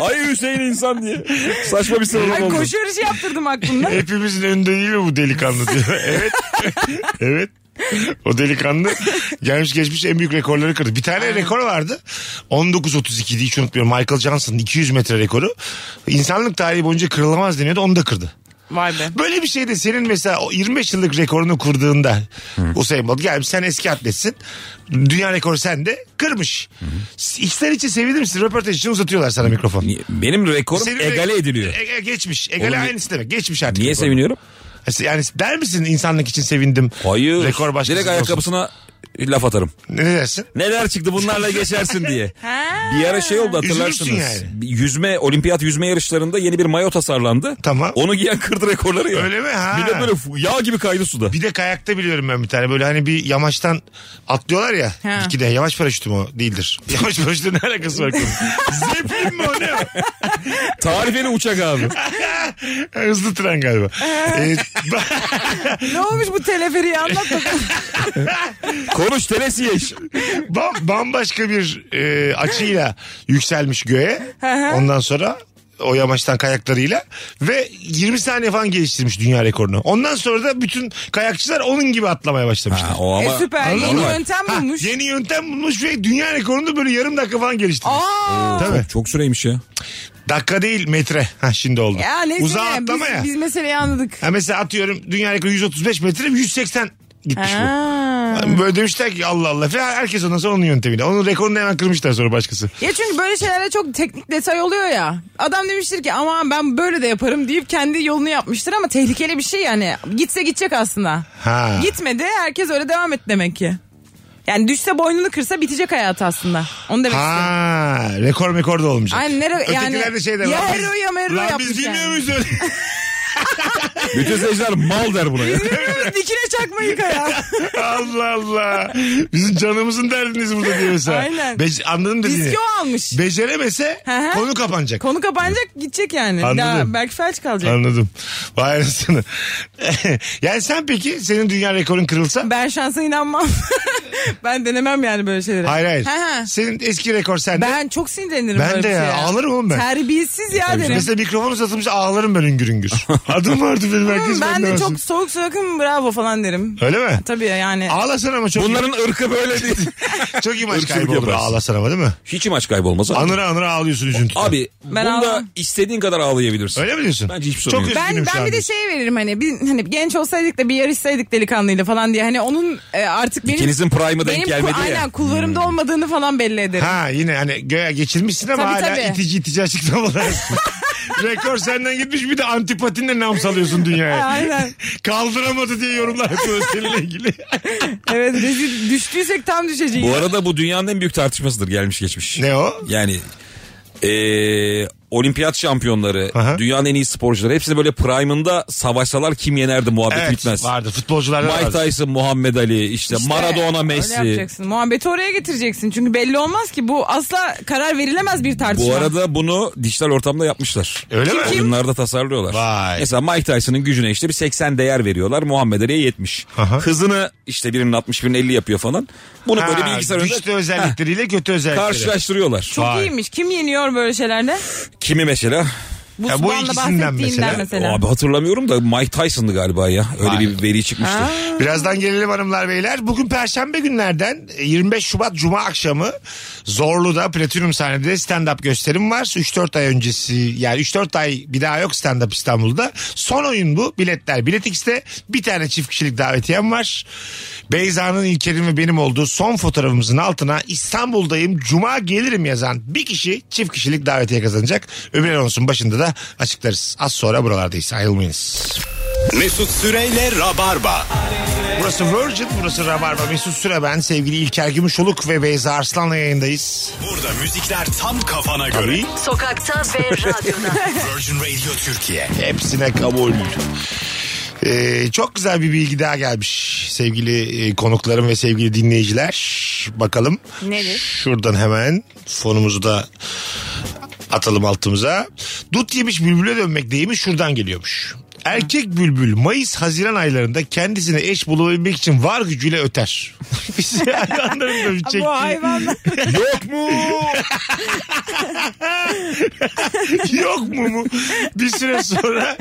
Ayı Hüseyin insan diye. Saçma bir sıralama
Ay
oldu.
koşu yarışı yaptırdım aklımda.
Hepimizin önünde değil mi bu delikanlı diyor. evet. evet. O delikanlı gelmiş geçmiş en büyük rekorları kırdı. Bir tane rekor vardı. 19.32 diye hiç unutmuyorum. Michael Johnson'ın 200 metre rekoru. İnsanlık tarihi boyunca kırılamaz deniyordu. Onu da kırdı.
Vay be.
Böyle bir şeyde senin mesela o 25 yıllık rekorunu kurduğunda Usain Bolt gelmiş sen eski atletsin. Dünya rekoru sende. Kırmış. İçten içe sevinir misin? Röportaj için uzatıyorlar sana mikrofon.
Benim rekorum
Senin
egale
rek-
ediliyor.
E- e- geçmiş. Egale
Oğlum,
aynısı demek. Geçmiş artık.
Niye
rekoru. E,
seviniyorum?
Yani der misin insanlık için sevindim.
Hayır.
Rekor başkasının
Direkt
olsun.
ayakkabısına laf atarım.
Ne dersin?
Neler çıktı bunlarla geçersin diye. bir ara şey oldu hatırlarsınız.
Üzülürsün yani.
Bir Yüzme, olimpiyat yüzme yarışlarında yeni bir mayo tasarlandı.
Tamam.
Onu giyen kırdı rekorları ya.
Öyle mi? Ha.
Millet böyle f- yağ gibi kaydı suda.
Bir de kayakta biliyorum ben bir tane. Böyle hani bir yamaçtan atlıyorlar ya.
Ha.
iki de yamaç paraşütü mü o? Değildir. Yamaç paraşütü ne alakası var? kızım? Zeplin mi o ne o?
Tarifeli uçak abi.
Hızlı tren galiba. Ee,
Ne olmuş bu teleferiyi anlat bakalım.
Konuş teresi yeş.
Bam, bambaşka bir e, açıyla yükselmiş göğe. Ondan sonra o yamaçtan kayaklarıyla ve 20 saniye falan geliştirmiş dünya rekorunu. Ondan sonra da bütün kayakçılar onun gibi atlamaya başlamışlar.
Ha, o ama
e süper
Anladın
yeni
mı?
yöntem
Ha,
bulmuş.
yeni yöntem bulmuş ve dünya rekorunu böyle yarım dakika falan geliştirmiş.
Aa.
Tabii.
çok süreymiş ya.
Dakika değil metre. Ha şimdi oldu.
Ya neyse
Uzağa
ne,
atlama
biz,
ya.
biz meseleyi anladık.
Ha mesela atıyorum dünya rekoru 135 metre 180 gitmiş bu.
Ha.
Hani Böyle demişler ki Allah Allah. Falan. Herkes ondan sonra onun yöntemiyle. Onun rekorunu hemen kırmışlar sonra başkası.
Ya çünkü böyle şeylerde çok teknik detay oluyor ya. Adam demiştir ki aman ben böyle de yaparım deyip kendi yolunu yapmıştır ama tehlikeli bir şey yani. Gitse gidecek aslında.
Ha.
Gitmedi herkes öyle devam et demek ki. Yani düşse boynunu kırsa bitecek hayatı aslında. Onu demek istiyorum.
Ha, rekor mekor da olmayacak.
Aynen, nere-
Ötekiler
yani-
de şey der.
Ya
"Lan biz-
hero ya mero
lan
yapmış
biz bilmiyor
yani."
muyuz öyle?
Bütün seyirciler mal der buraya.
Bilmiyoruz, Dikine çakmayı kaya.
Allah Allah. Bizim canımızın derdiniz burada diyor mesela.
Aynen.
Be- anladın mı dediğini?
Riski o almış.
Beceremese
Hı hı.
konu kapanacak.
Konu kapanacak gidecek yani.
Anladım.
Daha belki felç kalacak.
Anladım. Vay anasını. yani sen peki senin dünya rekorun kırılsa?
Ben şansa inanmam. ben denemem yani böyle şeyleri.
Hayır hayır.
Ha, ha.
Senin eski rekor sende.
Ben çok sinirlenirim
Ben
böyle
de
bir
ya,
şeye.
ağlarım oğlum ben.
Terbiyesiz ya derim.
Mesela mikrofon uzatılmış ağlarım ben üngür üngür. Adım vardı benim herkes
Hmm, ben de
benden
çok
olsun.
soğuk soğukum bravo falan derim.
Öyle mi?
Tabii yani.
Ağlasan ama çok
Bunların ırkı böyle değil.
çok imaj
ırkçılık
kaybı olur
yaparsın.
ağlasan ama değil mi?
Hiç maç kaybolmaz abi.
Anıra anıra ağlıyorsun üzüntüden.
Abi
Ben
bunda
ağlamam.
istediğin kadar ağlayabilirsin.
Öyle mi diyorsun?
Bence hiçbir sorun
Çok
yok.
üzgünüm
ben
şu
ben
an
bir de
diyorsun.
şey veririm hani bir hani genç olsaydık da bir yarışsaydık delikanlıyla falan diye hani onun e, artık benim
İkinizin prime'ı
benim
denk
ku-
gelmedi
aynen
ya. Hmm.
kulvarımda olmadığını falan belli ederim.
Ha yine hani göğe geçirmişsin ama
Tabii,
hala
tabii.
itici itici açıklamalar. Rekor senden gitmiş bir de antipatinle nam salıyorsun dünyaya.
Aynen.
Kaldıramadı diye yorumlar yapıyoruz seninle ilgili.
Evet rezil- düştüysek tam düşeceğiz.
Bu arada bu dünyanın en büyük tartışmasıdır gelmiş geçmiş.
ne o?
Yani eee, olimpiyat şampiyonları,
Aha.
dünyanın en iyi sporcuları hepsi böyle prime'ında savaşsalar kim yenerdi muhabbet
Evet
bitmez.
vardır futbolcularda
Mike
vardır.
Tyson, Muhammed Ali, işte,
İşte
Maradona,
öyle
Messi.
yapacaksın. Muhabbeti oraya getireceksin. Çünkü belli olmaz ki bu asla karar verilemez bir tartışma.
Bu arada bunu dijital ortamda yapmışlar.
Öyle mi?
Oyunlarda tasarlıyorlar.
Vay.
Mesela Mike Tyson'ın gücüne işte bir 80 değer veriyorlar. Muhammed Ali'ye 70.
Aha.
Hızını işte birinin 60 birinin 50 yapıyor falan. Bunu
Ha,
böyle bilgisayar
güçlü
önünde
özellikleriyle kötü özellikleri.
karşılaştırıyorlar.
Çok
Vay.
iyiymiş. Kim yeniyor böyle şeylerde?
Kimi mesela?
Bu,
Ya bu
Subhan'la
ikisinden
bahsettiğinden
mesela.
Abi hatırlamıyorum da Mike Tyson'dı galiba ya. Öyle
Vay.
bir veri çıkmıştı.
Birazdan gelelim hanımlar beyler. Bugün perşembe günlerden 25 Şubat Cuma akşamı Zorlu'da Platinum sahnede stand-up gösterim var. 3-4 ay öncesi yani 3-4 ay bir daha yok stand-up İstanbul'da. Son oyun bu. Biletler Bilet X'te. Bir tane çift kişilik davetiyem var. Beyza'nın İlker'in ve benim olduğu son fotoğrafımızın altına İstanbul'dayım Cuma gelirim yazan bir kişi çift kişilik davetiye kazanacak. Öbür anonsun başında da açıklarız. Az sonra buralardayız. Ayrılmayınız.
Mesut Süreyle Rabarba.
Burası Virgin, burası Rabarba. Mesut Süre ben, sevgili İlker Gümüşoluk ve Beyza Arslan'la yayındayız.
Burada müzikler tam kafana göre.
Sokakta ve radyoda.
Virgin Radio Türkiye.
Hepsine kabul. Ee, çok güzel bir bilgi daha gelmiş sevgili e, konuklarım ve sevgili dinleyiciler. Bakalım.
Nedir?
Şuradan hemen fonumuzu da atalım altımıza. Dut yemiş bülbüle dönmek deyimi şuradan geliyormuş. Erkek bülbül Mayıs-Haziran aylarında kendisine eş bulabilmek için var gücüyle öter. Biz hayvanların da bir çektiği-
Bu hayvanlar.
Yok mu? Yok mu mu? Bir süre sonra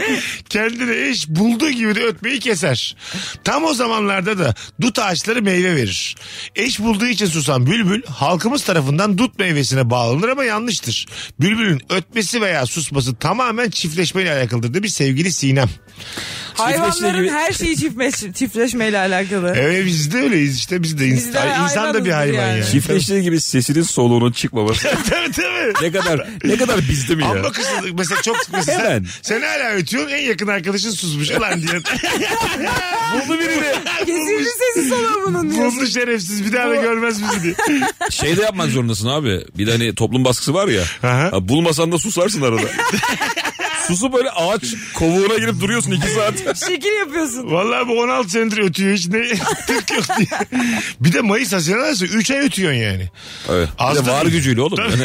kendine eş bulduğu gibi de ötmeyi keser. Tam o zamanlarda da dut ağaçları meyve verir. Eş bulduğu için susan bülbül halkımız tarafından dut meyvesine bağlanır ama yanlıştır. Bülbülün ötmesi veya susması tamamen çiftleşmeyle alakalıdır diye bir sevgili Sinem.
Hayvanların
gibi.
her şeyi çiftleş, çiftleşmeyle alakalı.
Evet biz de öyleyiz işte biz de insan,
Biz de
insan da bir
hayvanızdır
hayvan yani.
yani.
Çiftleştiği gibi sesinin soluğunun çıkmaması.
tabii tabii.
ne kadar ne kadar bizde mi ya?
Amma kızılık. Mesela çok mesela sen,
Hemen.
sen hala ötüyorsun en yakın arkadaşın susmuş ulan diye. Buldu birini.
Kesildi sesi sana bunun diyorsun.
Buldu şerefsiz bir daha da görmez bizi diye.
Şey de yapmak zorundasın abi. Bir de hani toplum baskısı var ya.
Aha.
Ha, Bulmasan da susarsın arada. Susu böyle ağaç kovuğuna girip duruyorsun iki saat.
Şekil yapıyorsun.
Vallahi bu 16 senedir ötüyor hiç ne Türk yok diye. Bir de Mayıs Haziran arası 3 ay ötüyorsun yani.
Evet.
Az
Bir de
da
var
değil.
gücüyle oğlum. Yani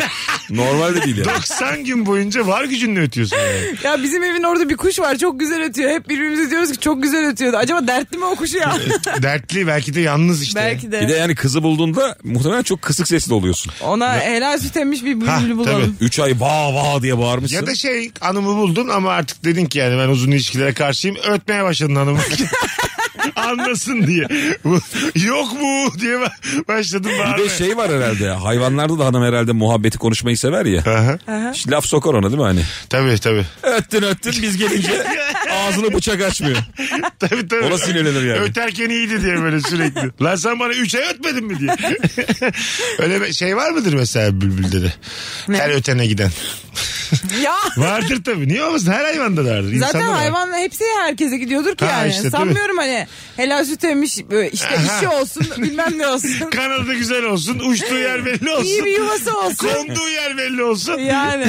normal de değil yani.
90 gün boyunca var gücünle ötüyorsun yani.
Ya bizim evin orada bir kuş var çok güzel ötüyor. Hep birbirimize diyoruz ki çok güzel ötüyordu. Acaba dertli mi o kuş ya?
Dertli belki de yalnız işte.
Belki de.
Bir de yani kızı bulduğunda muhtemelen çok kısık sesli oluyorsun.
Ona helal süt emmiş bir
Ha,
bülbül bulalım.
Üç ay va va diye bağırmışsın.
Ya da şey hanımı buldun ama artık dedin ki yani ben uzun ilişkilere karşıyım. Ötmeye başladın hanımı. Anlasın diye. Bu- Yok mu diye ba- başladın
bir de
bağırmaya.
şey var herhalde. Hayvanlarda da hanım herhalde muhabbeti konuşmayı sever ya.
Aha.
İşte laf sokar ona değil mi hani?
Tabii tabii.
Öttün öttün biz gelince ağzını bıçak açmıyor.
tabii tabii.
Ona sinirlenir yani.
Öterken iyiydi diye böyle sürekli. Lan sen bana 3 ay ötmedin mi diye. Öyle bir şey var mıdır mesela bülbülde de? Her ötene giden.
Ya
Vardır tabii. Niye olmasın? Her hayvanda da vardır.
zaten
İnsanda da var.
hayvan hepsi herkese gidiyordur ki
Ha,
yani.
işte, değil mi?
Sanmıyorum hani helal süt emmiş böyle işte işi olsun bilmem ne olsun.
Kanadı güzel olsun. Uçtuğu yer belli olsun.
İyi bir yuvası olsun.
Konduğu yer belli olsun.
yani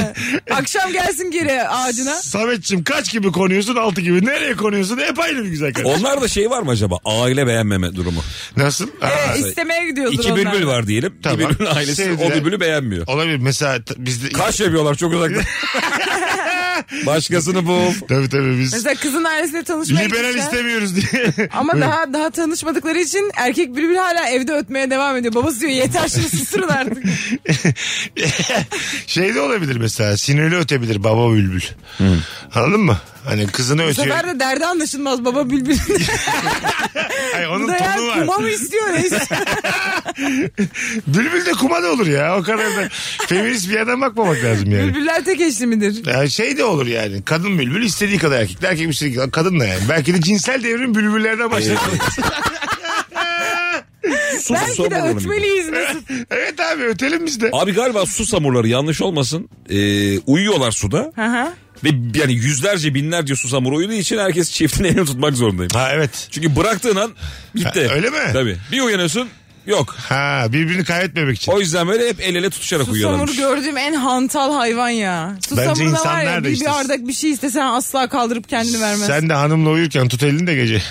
akşam gelsin geri ağacına.
Sametçim kaç gibi konuyorsun? Altı gibi. Nereye konuyorsun? Hep aynı bir güzel kadın.
Onlar da şey var mı acaba? Aile beğenmeme durumu.
Nasıl? Aa,
Evet, istemeye gidiyordur
İki
onlar.
bülbül var diyelim.
Tamam.
Bir bülbülün ailesi
Sevdiler.
o bülbülü beğenmiyor.
olabilir. Mesela t- bizde...
Kaş yapıyorlar çok uzakta. Başkasını bul.
Tabii tabii biz...
Mesela kızın ailesiyle tanışmaya
Liberal
gitmişler.
istemiyoruz diye.
Ama daha daha tanışmadıkları için erkek bülbül hala evde ötmeye devam ediyor. Babası diyor yeter şimdi susturun artık.
şey de olabilir mesela sinirli ötebilir baba bülbül. Anladın mı? Hani kızını
Bu
ötüyor.
sefer de derdi anlaşılmaz baba bülbül.
Ay,
Bu
onun
da
tonu
ya
var.
kuma mı istiyor ne istiyor?
Bülbül de kuma da olur ya. O kadar da feminist bir yerden bakmamak lazım yani.
Bülbüller tek eşli midir?
Ya şey de olur yani. Kadın bülbül istediği kadar erkek. Erkek istediği kadar kadın da yani. Belki de cinsel devrim bülbüllerden başladı.
Su,
Belki de
samurlarını biliyorum.
ötmeliyiz Mesut.
evet abi ötelim biz de.
Abi galiba su samurları yanlış olmasın. Ee, uyuyorlar suda.
Hı hı.
Ve yani yüzlerce binlerce su samuru uyuduğu için herkes çiftini elini tutmak zorundayım.
Ha evet.
Çünkü bıraktığın an gitti.
Ha, öyle mi?
Tabii. Bir uyanıyorsun yok.
Ha birbirini kaybetmemek için.
O yüzden böyle hep el ele tutuşarak
Susamur
uyuyorlarmış.
gördüğüm en hantal hayvan ya. Susamur da var
insanlar da
ya bir,
işte.
bir bardak bir şey istesen asla kaldırıp kendini vermez.
Sen de hanımla uyurken tut elini de gece.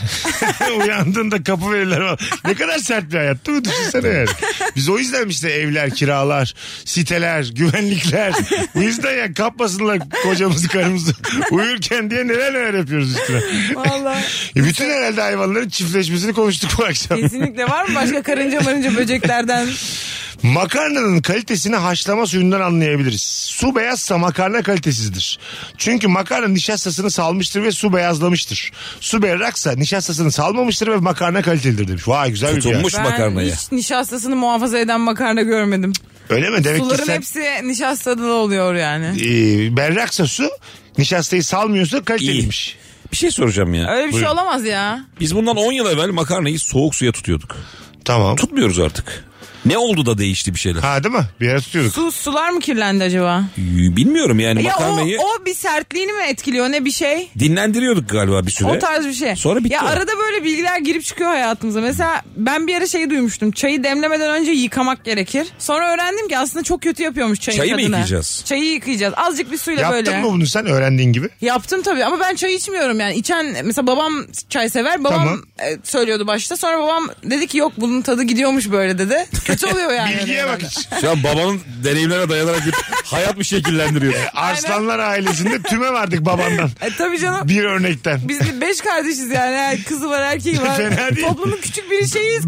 Uyandığında kapı verirler. falan. Ne kadar sert bir hayat değil mi? Düşünsene yani. Biz o yüzden işte evler, kiralar, siteler, güvenlikler. Bu yüzden ya kapmasınlar kocamızı karımızı. Uyurken diye neler neler yapıyoruz üstüne.
Vallahi.
E bütün herhalde hayvanların çiftleşmesini konuştuk bu akşam.
Kesinlikle var mı başka karınca marınca böceklerden?
Makarnanın kalitesini haşlama suyundan anlayabiliriz. Su beyazsa makarna kalitesizdir. Çünkü makarna nişastasını salmıştır ve su beyazlamıştır. Su berraksa nişastasını salmamıştır ve makarna kalitelidir demiş. Vay güzel bir
Tutulmuş
Ben
makarnaya.
hiç nişastasını muhafaza eden makarna görmedim.
bir yer. Öyle mi? Demek
Suların
ki sen
hepsi nişastalı oluyor yani.
e, berraksa su nişastayı salmıyorsa kaliteliymiş.
Bir şey soracağım ya.
Öyle bir şey olamaz ya.
Biz bundan 10 yıl evvel makarnayı soğuk suya tutuyorduk.
Tamam.
Tutmuyoruz artık. Ne oldu da değişti bir şeyler?
Ha değil mi? Bir yere tutuyorduk.
Su sular mı kirlendi acaba?
Bilmiyorum yani
Ya o,
makarnayı
o bir sertliğini mi etkiliyor ne bir şey?
dinlendiriyorduk galiba bir süre.
O tarz bir şey.
Sonra bitti
ya
o.
arada böyle bilgiler girip çıkıyor hayatımıza. Mesela ben bir ara şey duymuştum. Çayı demlemeden önce yıkamak gerekir. Sonra öğrendim ki aslında çok kötü yapıyormuş çayın
Çayı mı
tadına.
yıkayacağız?
Çayı yıkayacağız. Azıcık bir suyla
Yaptın
böyle.
mı bunu sen öğrendiğin gibi?
Yaptım tabii ama ben çay içmiyorum yani. İçen mesela babam çay sever. Babam
Tamam.
e, söylüyordu başta. Sonra babam dedi ki yok bunun tadı gidiyormuş böyle dedi. Kötü oluyor yani.
Bilgiye
herhalde.
bak hiç.
Şu an babanın deneyimlerine dayanarak bir hayat mı şekillendiriyor?
Arslanlar ailesinde tüme vardık babandan.
E, tabii canım.
Bir örnekten.
Biz bir beş kardeşiz yani. yani. Kızı var erkeği var.
Fena değil.
Toplumun küçük bir şeyiz.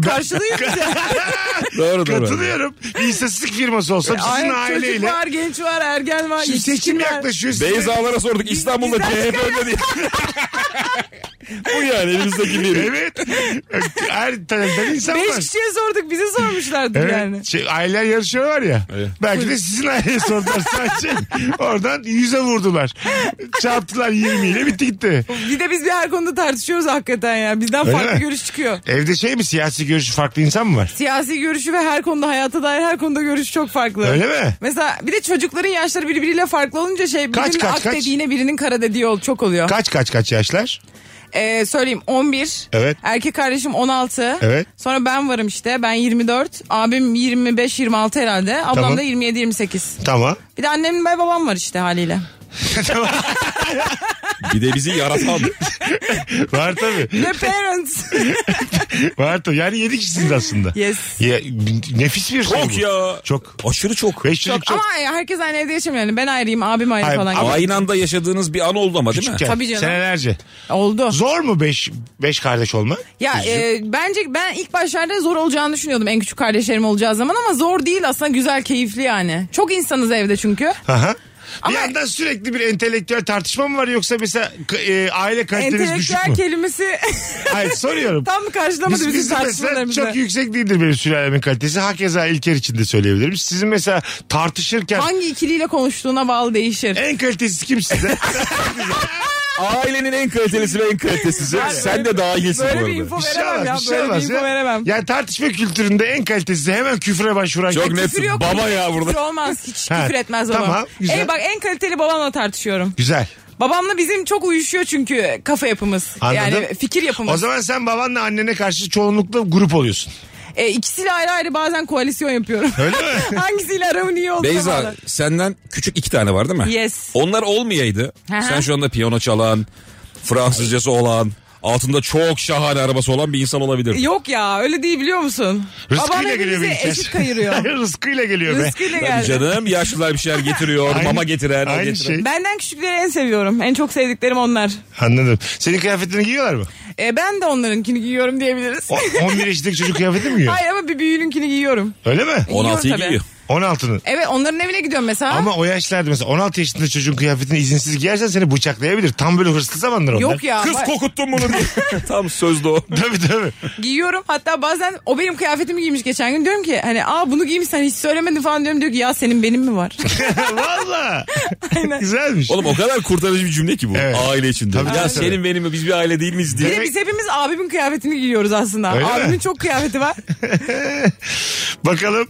Karşılıyız yani.
doğru doğru.
Katılıyorum. Bir istatistik firması olsam sizin
Ay, Çocuk
aileyle.
var, genç var, ergen var.
Şimdi seçim
yetişkin var.
yaklaşıyor. Siz-
Beyza'lara sorduk İstanbul'da
bizden
CHP öyle değil. Bu yani elimizdeki bir.
Evet. Her taraftan insan
Beş
var.
kişiye sorduk bizi sormuşlardı
Evet.
yani.
Şey, aileler yarışıyor var ya. Belki de sizin aileye sordular sadece. Oradan yüze vurdular. Çarptılar 20 ile bitti gitti.
Bir de biz bir her konuda tartışıyoruz hakikaten ya. Bizden
Öyle
farklı
mi?
görüş çıkıyor.
Evde şey mi siyasi görüşü farklı insan mı var?
Siyasi görüşü ve her konuda hayata dair her konuda görüş çok farklı.
Öyle mi?
Mesela bir de çocukların yaşları birbiriyle farklı olunca şey birinin
Kaç, kaç,
ak
kaç?
dediğine birinin kara dediği ol, çok oluyor.
Kaç kaç kaç yaşlar?
Ee, söyleyeyim 11.
Evet.
Erkek kardeşim 16.
Evet.
Sonra ben varım işte ben 24. Abim 25-26 herhalde. Ablam
Tamam.
da 27-28.
Tamam.
Bir de annem ve babam var işte haliyle.
Bir de bizi yaratan.
Var tabii.
The parents.
Var tabii. Yani yedi kişisiniz aslında.
Yes.
Ya, nefis bir şey
Çok
bu.
ya.
Çok.
Aşırı çok.
Beş yıllık çok.
Ama herkes aynı evde yaşamıyor. Yani ben ayrıyım abim ayrı
Hayır,
falan.
ama-
gibi.
Aynı anda yaşadığınız bir an oldu ama değil mi?
Küçükken.
Tabii canım.
Senelerce.
Oldu.
Zor mu beş, beş kardeş olma?
Ya e, bence ben ilk başlarda zor olacağını düşünüyordum en küçük kardeşlerim olacağı zaman ama zor değil aslında güzel keyifli yani. Çok insanız evde çünkü.
Aha.
Ama-
Bir yandan sürekli bir entelektüel tartışma mı var yoksa mesela k- e, aile kaliteniz düşük
Entelektüel
mü?
kelimesi
Hayır soruyorum.
tam
Biz,
karşılamadı bizim,
bizim mesela
tartışmalarımızı.
çok yüksek değildir benim sülalemin kalitesi. Hakeza İlker için de söyleyebilirim. Sizin mesela tartışırken
Hangi ikiliyle konuştuğuna bağlı değişir.
en kalitesiz kim size?
Ailenin en kalitelisi ve en kalitesizi.
Yani
Sen de dahilsin
Böyle
bu
bir
arada.
info
Bir şey
veremem
olmaz,
ya.
bir şey
Böyle bir
olmaz
info
ya.
veremem.
Yani tartışma kültüründe en kalitesiz hemen küfre başvuran.
Çok
kim?
net.
Küfür yok.
Baba ya burada.
Küfür olmaz. Hiç
Ha,
küfür etmez babam.
tamam, güzel.
Ey bak en kaliteli babamla tartışıyorum.
Güzel.
Babamla bizim çok uyuşuyor çünkü kafa yapımız.
Anladım.
Yani fikir yapımız.
O zaman sen babanla annene karşı çoğunlukla grup oluyorsun.
E, ikisiyle ayrı ayrı bazen koalisyon yapıyorum.
Öyle mi?
Hangisiyle aramın iyi olduğuna
Beyza
bağlı.
senden küçük iki tane var değil mi?
Yes.
Onlar olmayaydı.
Aha.
Sen şu anda piyano çalan, Fransızcası olan, altında çok şahane arabası olan bir insan olabilirdin.
Yok ya öyle değil biliyor musun? Babam
Rızkıyla geliyor
hepimize
benim
eşit kayırıyor.
Rızkıyla geliyor be.
Rızkıyla
Tabii
geldi.
canım yaşlılar bir şeyler getiriyor,
Aynı-
mama getiren, o
aynı
getiren.
şey.
Benden küçükleri en seviyorum. En çok sevdiklerim onlar.
Anladım. Senin kıyafetini giyiyorlar mı?
E, ben de onlarınkini giyiyorum diyebiliriz.
O, 11 yaşındaki çocuk kıyafeti mi giyiyor?
Hayır ama bir büyüğünkini giyiyorum.
Öyle mi?
Giyiyorum
16'yı
tabii.
giyiyor.
16'nın.
Evet onların evine gidiyorum mesela.
Ama o yaşlarda mesela 16 yaşında çocuğun kıyafetini izinsiz giyersen seni bıçaklayabilir. Tam böyle hırslı zamanlar onlar.
Yok ya.
Kız
ba-
kokuttun bunu diye. Tam sözde o.
Tabii tabii.
Giyiyorum hatta bazen o benim kıyafetimi giymiş geçen gün diyorum ki hani aa bunu giymişsen hiç söylemedin falan diyorum diyor ki ya senin benim mi var?
Valla. Güzelmiş.
Oğlum o kadar kurtarıcı bir cümle ki bu.
Evet.
Aile içinde.
Tabii
ya
canım.
senin benim mi biz bir aile değil miyiz
Bir
diye.
de biz hepimiz abimin kıyafetini giyiyoruz aslında.
Öyle mi?
abimin çok kıyafeti var.
Bakalım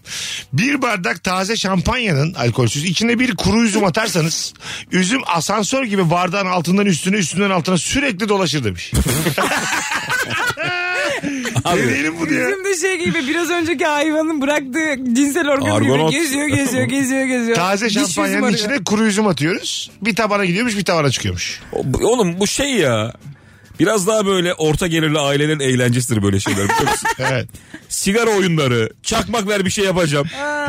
bir bardak taze şampanyanın alkolsüz içine bir kuru üzüm atarsanız üzüm asansör gibi bardağın altından üstüne üstünden altına sürekli dolaşır demiş. Deneyelim bunu ya.
Bizim de şey gibi biraz önceki hayvanın bıraktığı cinsel organ
Argonot.
gibi geziyor geziyor geziyor geziyor.
Taze
Diş yüzüm
şampanyanın
arıyor.
içine kuru üzüm atıyoruz. Bir tabana gidiyormuş bir tabana çıkıyormuş.
O- bu- Oğlum bu şey ya. Biraz daha böyle orta gelirli ailelerin eğlencesidir böyle şeyler. biliyor musun?
Evet.
Sigara oyunları, çakmak ver bir şey yapacağım.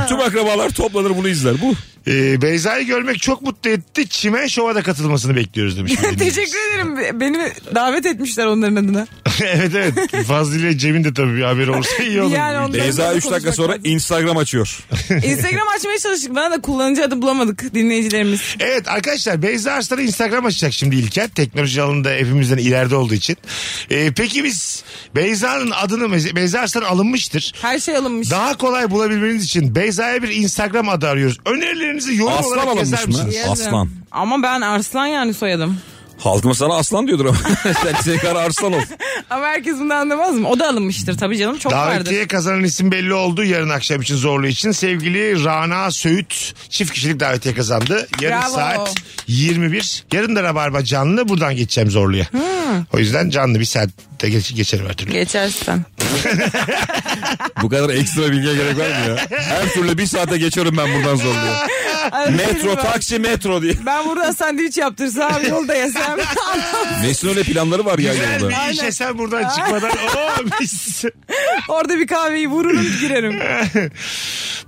Tüm akrabalar toplanır bunu izler. Bu.
Ee, Beyza'yı görmek çok mutlu etti. Çimen Şov'a da katılmasını bekliyoruz demiş. bir dinleyicimiz.
Teşekkür ederim. Beni davet etmişler onların adına.
evet evet. Fazlı ile Cem'in de tabii bir haberi olsa iyi olur.
Yani onların
Beyza
adına
3 dakika
konuşmak
sonra
lazım.
Instagram açıyor.
Instagram açmaya çalıştık. Bana da kullanıcı adı bulamadık dinleyicilerimiz.
Evet arkadaşlar Beyza Arslan'ı Instagram açacak şimdi İlker. Teknoloji alanında hepimizden ileride olduğu için. Ee, peki biz Beyza'nın adını Beyza Arslan alınmıştır.
Her şey alınmış.
Daha kolay bulabilmeniz için Beyza'ya bir Instagram adı arıyoruz. Önerilerinizi yorum
Aslan
olarak yazar
alınmış mı?
mısınız?
Yazın.
Aslan.
Ama ben Arslan yani soyadım.
Halkımız sana aslan diyordur ama. Sen tekrar arslan ol.
Ama herkes bunu anlamaz mı? O da alınmıştır tabii canım. Çok vardır.
Davetiye kazanan isim belli oldu yarın akşam için zorlu için. Sevgili Rana Söğüt çift kişilik davetiye kazandı. Yarın
Bravo.
saat 21. Yarın da Rabarba canlı buradan geçeceğim zorluya. O yüzden canlı bir saatte geç, geçerim her türlü.
Geçersen.
Bu kadar ekstra bilgiye gerek var mı ya? Her türlü bir saate geçiyorum ben buradan zorluyor. metro, taksi, metro diye.
Ben burada sandviç yaptırsam yolda yesem.
Mesut'un öyle planları var ya
Güzel
yolda.
bir işe sen buradan çıkmadan. Oo, mis.
Orada bir kahveyi vururum girerim.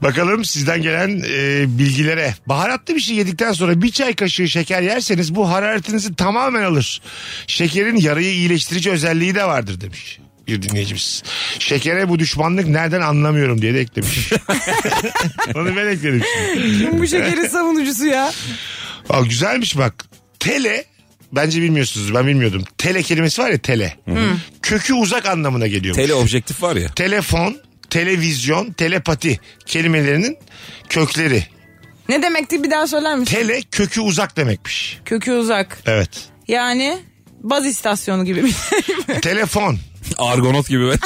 Bakalım sizden gelen e, bilgilere. Baharatlı bir şey yedikten sonra bir çay kaşığı şeker yerseniz bu hararetinizi tamamen alır. Şekerin yarayı iyileştirici özelliği de vardır demiş bir dinleyicimiz. Şekere bu düşmanlık nereden anlamıyorum diye de eklemiş. Onu ben ekledim. şimdi.
Kim bu şekerin savunucusu ya?
Aa, güzelmiş bak. Tele bence bilmiyorsunuz ben bilmiyordum. Tele kelimesi var ya tele. Kökü uzak anlamına geliyor.
Tele objektif var ya.
telefon, televizyon, telepati kelimelerinin kökleri.
Ne demekti bir daha söyler misin?
Tele kökü uzak demekmiş.
Kökü uzak.
Evet.
Yani baz istasyonu gibi bir şey.
telefon.
Argonot gibi ben.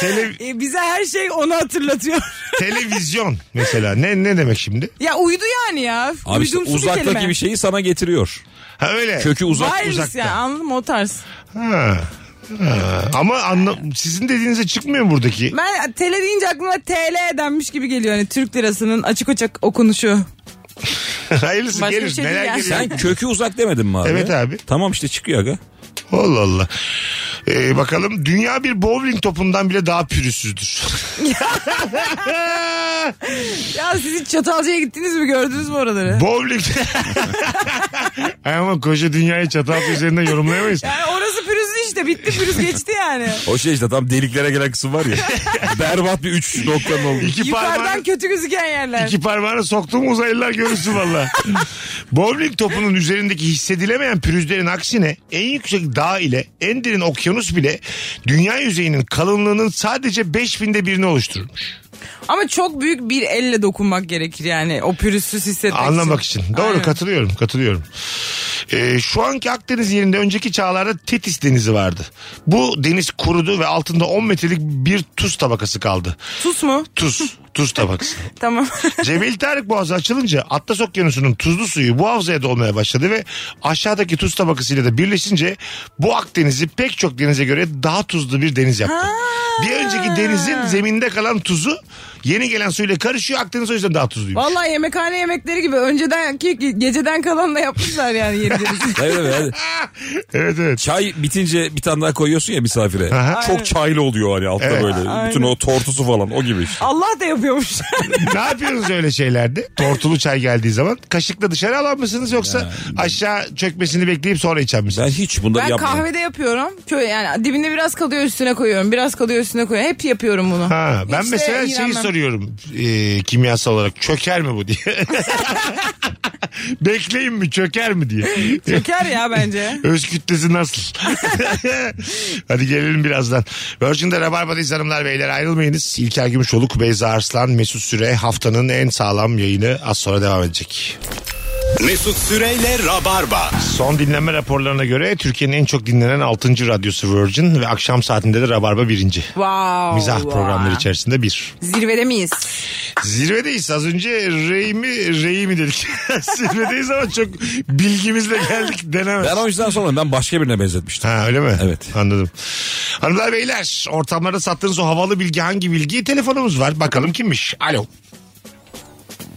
Tele,
E, bize her şey onu hatırlatıyor.
televizyon mesela. Ne ne demek şimdi?
ya uydu yani ya.
Abi işte
Uydumsuz bir
uzaktaki
kelime.
bir şeyi sana getiriyor.
Ha öyle.
Kökü uzak.
Wireless
uzakta.
ya anladın mı o tarz.
Ha. Ha. Ama anla, sizin dediğinize çıkmıyor mu buradaki?
Ben tele deyince aklıma TL denmiş gibi geliyor. Hani Türk lirasının açık açık okunuşu.
Hayırlısı
Başka bir
gelir.
şey değil
Neler
yani.
geliyor?
Sen kökü uzak demedin mi abi?
Evet abi.
Tamam işte çıkıyor aga.
Allah Allah. Ee, bakalım dünya bir bowling topundan bile daha pürüzsüzdür.
Ya siz hiç Çatalca'ya gittiniz mi gördünüz mü oraları?
bowling. Ama koca dünyayı çatal üzerinden yorumlayamayız.
yani orası pürüzlü işte bitti pürüz geçti yani.
O şey işte tam deliklere gelen kısım var ya. berbat bir üç noktanın oldu.
İki
Yukarıdan
parmağını,
kötü gözüken yerler.
iki parmağını soktum uzaylılar görürsün valla. bowling topunun üzerindeki hissedilemeyen pürüzlerin aksine en yüksek dağ ile en derin okyanus bile dünya yüzeyinin kalınlığının sadece 5000'de birini oluşturmuş.
Ama çok büyük bir elle dokunmak gerekir yani o pürüzsüz hissetmek
Anlamak için. Doğru
Aynen.
katılıyorum katılıyorum. Ee, şu anki Akdeniz yerinde önceki çağlarda Tetis denizi vardı. Bu deniz kurudu ve altında 10 metrelik bir tuz tabakası kaldı.
Sus mu?
Tuz. Tuz tabakası.
Tamam.
Cemil Tarık Boğazı açılınca Atlas Okyanusu'nun tuzlu suyu bu havzaya dolmaya başladı ve aşağıdaki tuz tabakasıyla da birleşince bu Akdeniz'i pek çok denize göre daha tuzlu bir deniz yaptı. Bir önceki denizin zeminde kalan tuzu yeni gelen suyla karışıyor. Akdeniz o yüzden daha tuzluymuş.
Vallahi yemekhane yemekleri gibi önceden ki geceden kalanla yapmışlar yani yeni deniz.
Evet evet. hadi.
Evet evet.
Çay bitince bir tane daha koyuyorsun ya misafire.
Aha.
Çok çaylı oluyor hani altta
Evet.
böyle. Bütün o tortusu falan o gibi işte.
Allah da yapıyormuş.
ne yapıyorsunuz öyle şeylerde? Tortulu çay geldiği zaman kaşıkla dışarı alan mısınız yoksa aşağı çökmesini bekleyip sonra içen
Ben
misiniz?
hiç bunları
ben
yapmam.
kahvede yapıyorum. Şöyle yani dibinde biraz kalıyor üstüne koyuyorum. Biraz kalıyor üstüne koyuyorum. Hep yapıyorum bunu.
Ha, ben
Hiç de
mesela şeyi
iğrenmem.
soruyorum e, kimyasal olarak çöker mi bu diye. Bekleyin mi çöker mi diye.
Çöker ya bence.
Öz kütlesi nasıl? Hadi gelelim birazdan. Virgin'de Rabarba'dayız hanımlar beyler ayrılmayınız. İlker Gümüşoluk, Beyza Arslan, Mesut Süre haftanın en sağlam yayını az sonra devam edecek.
Mesut Süreyle Rabarba.
Son dinlenme raporlarına göre Türkiye'nin en çok dinlenen 6. radyosu Virgin ve akşam saatinde de Rabarba birinci.
Wow.
Mizah
wow.
programları içerisinde bir.
Zirvede miyiz?
Zirvedeyiz. Az önce rey mi, rey mi dedik. Zirvedeyiz ama çok bilgimizle geldik denemez.
Ben o yüzden sonra ben başka birine benzetmiştim.
Ha öyle mi?
Evet.
Anladım. Hanımlar beyler ortamlarda sattığınız o havalı bilgi hangi bilgi? Telefonumuz var. Bakalım kimmiş? Alo.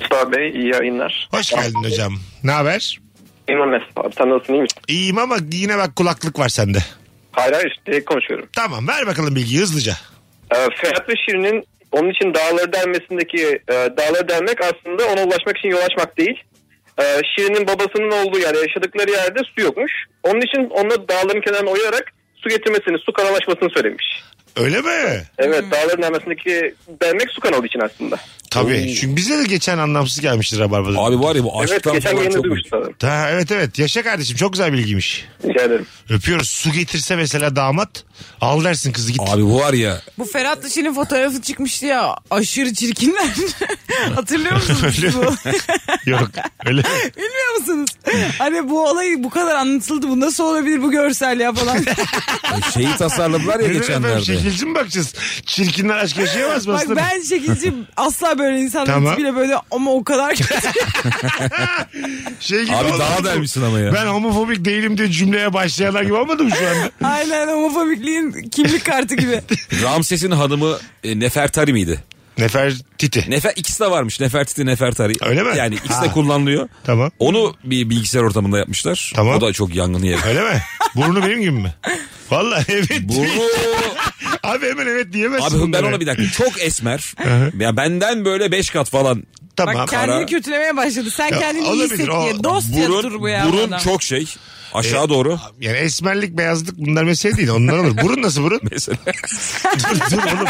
Mustafa Bey iyi yayınlar.
Hoş geldin hocam. Ne haber?
İmam Mesut abi sen nasılsın iyi misin?
İyiyim ama yine bak kulaklık var sende.
Hayır hayır direkt konuşuyorum.
Tamam ver bakalım bilgiyi hızlıca.
Ee, Ferhat ve Şirin'in onun için dağları dermesindeki e, dağları dermek aslında ona ulaşmak için yol açmak değil. Ee, Şirin'in babasının olduğu yani yaşadıkları yerde su yokmuş. Onun için onunla dağların kenarına oyarak su getirmesini, su kanalaşmasını söylemiş.
Öyle mi?
Evet dağların dermesindeki dermek su kanalı için aslında.
Tabii. Çünkü bize de geçen anlamsız gelmişti Rabarba'da.
Abi var ya bu
Evet
aşktan
geçen
falan
yayında
çok...
duymuştum sanırım.
Ha, evet evet. Yaşa kardeşim çok güzel bilgiymiş.
Rica ederim.
Öpüyoruz. Su getirse mesela damat al dersin kızı git.
Abi bu var ya
Bu Ferhat Dişi'nin fotoğrafı çıkmıştı ya. Aşırı çirkinler. Hatırlıyor musunuz
Öyle
bu?
Yok öyle.
Bilmiyor musunuz? Hani bu olay bu kadar anlatıldı. Bu nasıl olabilir bu görsel ya falan.
e, şeyi tasarladılar ya
Neden efendim
geçenlerde.
şekilci mi bakacağız? Çirkinler aşk yaşayamaz mı
Bak
aslında?
ben şekilci asla böyle insan
Tamam.
bile böyle ama o kadar kötü.
Şey gibi
Abi
oldu.
daha dermişsin ama ya.
Ben homofobik değilim diye cümleye başlayanlar gibi olmadım şu anda.
Aynen homofobikliğin kimlik kartı gibi.
şey,
Ramses'in hanımı e, Nefertari miydi?
Nefertiti.
Nefer ikisi de varmış. Nefertiti, Nefertari.
Öyle mi?
Yani ikisi
Ha.
de kullanılıyor.
Tamam.
Onu bir bilgisayar ortamında yapmışlar.
Tamam.
O da çok yangın yeri.
Öyle mi? Burnu benim gibi mi? Vallahi evet.
Burnu...
Abi hemen evet diyemezsin.
Abi ben
bunlara.
ona bir dakika çok esmer. ya benden böyle 5 kat falan.
Tamam.
Bak kendini
Ara-
kötülemeye başladı. Sen
Ya,
kendini iyi
olabilir,
hisset
o-
diye. Dost
Burun,
yatır bu ya.
burun
adam.
çok şey. Aşağı
E,
doğru.
Yani esmerlik, beyazlık bunlar mesele değil. Onlar olur. Burun nasıl burun?
Mesela
dur, dur oğlum.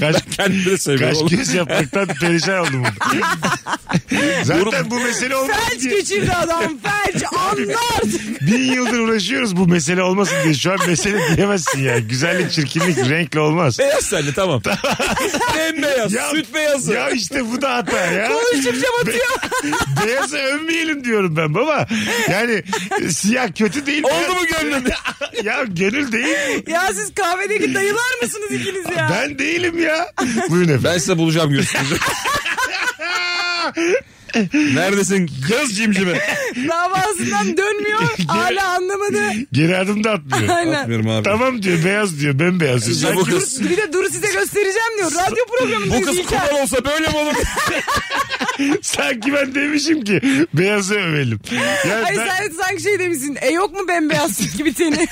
Kaç,
kendini de
kaç
seviyorum.
kez yapmaktan perişan oldum bunu. Zaten bu mesele olmasın
Felç
diye.
geçirdi adam. Felç anla artık.
Bin yıldır uğraşıyoruz bu mesele olmasın diye. Şu an mesele diyemezsin ya. Güzellik, çirkinlik, renkle olmaz.
Beyaz senli tamam. Bembeyaz,
Ya-
süt beyazı.
Ya işte bu da hata ya.
Konuştukça batıyor.
Beyazı övmeyelim diyorum ben baba. Yani e, siyah kötü değil.
Oldu mu gönlün?
ya gönül değil.
ya siz kahvedeki dayılar mısınız ikiniz ya?
Ben değilim ya. Buyurun efendim.
Ben size bulacağım görüşürüz. Neredesin kız cimcime?
Davasından dönmüyor. hala anlamadı.
Geri adım da atmıyor.
Aynen.
Bilmiyorum abi.
tamam diyor beyaz diyor bembeyaz diyor.
Sizce
Sen
bu
kim-
kız
Bir de dur size göstereceğim diyor. Radyo
bu
programındayız
kız
İlker.
kural olsa böyle mi olur?
Sanki ben demişim ki beyazı övelim. Yani
Ay
ben-
sen sanki şey demişsin. E yok mu bembeyaz süt gibi teni?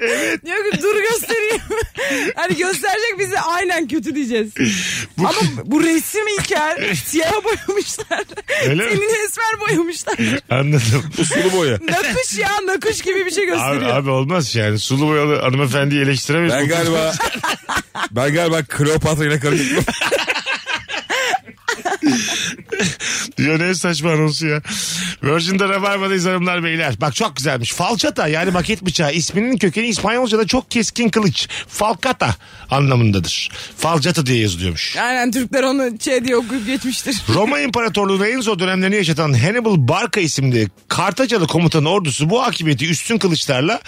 evet. Diyor ki dur göstereyim. hani gösterecek bize aynen kötü diyeceğiz. Ama bu resim İlker. Siyah boyamışlar.
Öyle mi?
Tenini esmer boyamışlar.
Anladım.
Sulu boya.
nakış ya nakış gibi bir şey
Abi,
gösteriyor.
abi olmaz yani. Sulu boyalı hanımefendiyi eleştiremeyiz.
Ben
Bu kız-
galiba ben galiba Kleopatra ile karıştırdım.
Ya ne saçma anonsu ya. Virgin'de Rabarba'dayız hanımlar beyler. Bak çok güzelmiş. Falçata yani maket bıçağı isminin kökeni İspanyolca'da çok keskin kılıç. Falcata anlamındadır. Falcata diye yazılıyormuş.
Aynen Türkler onu şey diye okuyup geçmiştir.
Roma İmparatorluğu'nun en zor dönemlerini yaşatan Hannibal Barca isimli Kartacalı komutanın ordusu bu akibeti üstün kılıçlarla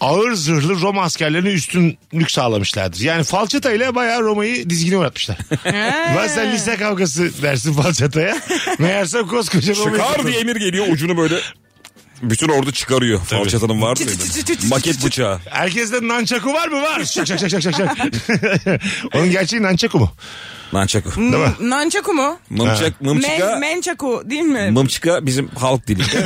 ağır zırhlı Roma askerlerine üstünlük sağlamışlardır. Yani falçata ile bayağı Roma'yı dizgine uğratmışlar. Bazen lise kavgası dersin falçataya. Meğerse koskoca Roma'yı...
Çıkar diye emir geliyor ucunu böyle. Bütün ordu çıkarıyor. Falçatanın var mıydı?
Çıt çıt çıt çıt çıt
Maket bıçağı.
Herkeste nançaku var mı? Var. Şak şak şak şak şak. şak. Onun gerçeği nançaku mu?
Nançak.
mi?
Nançaku mu?
Mımçak,
Men,
mımçika.
mençaku değil mi?
Mımçika bizim halk dilinde.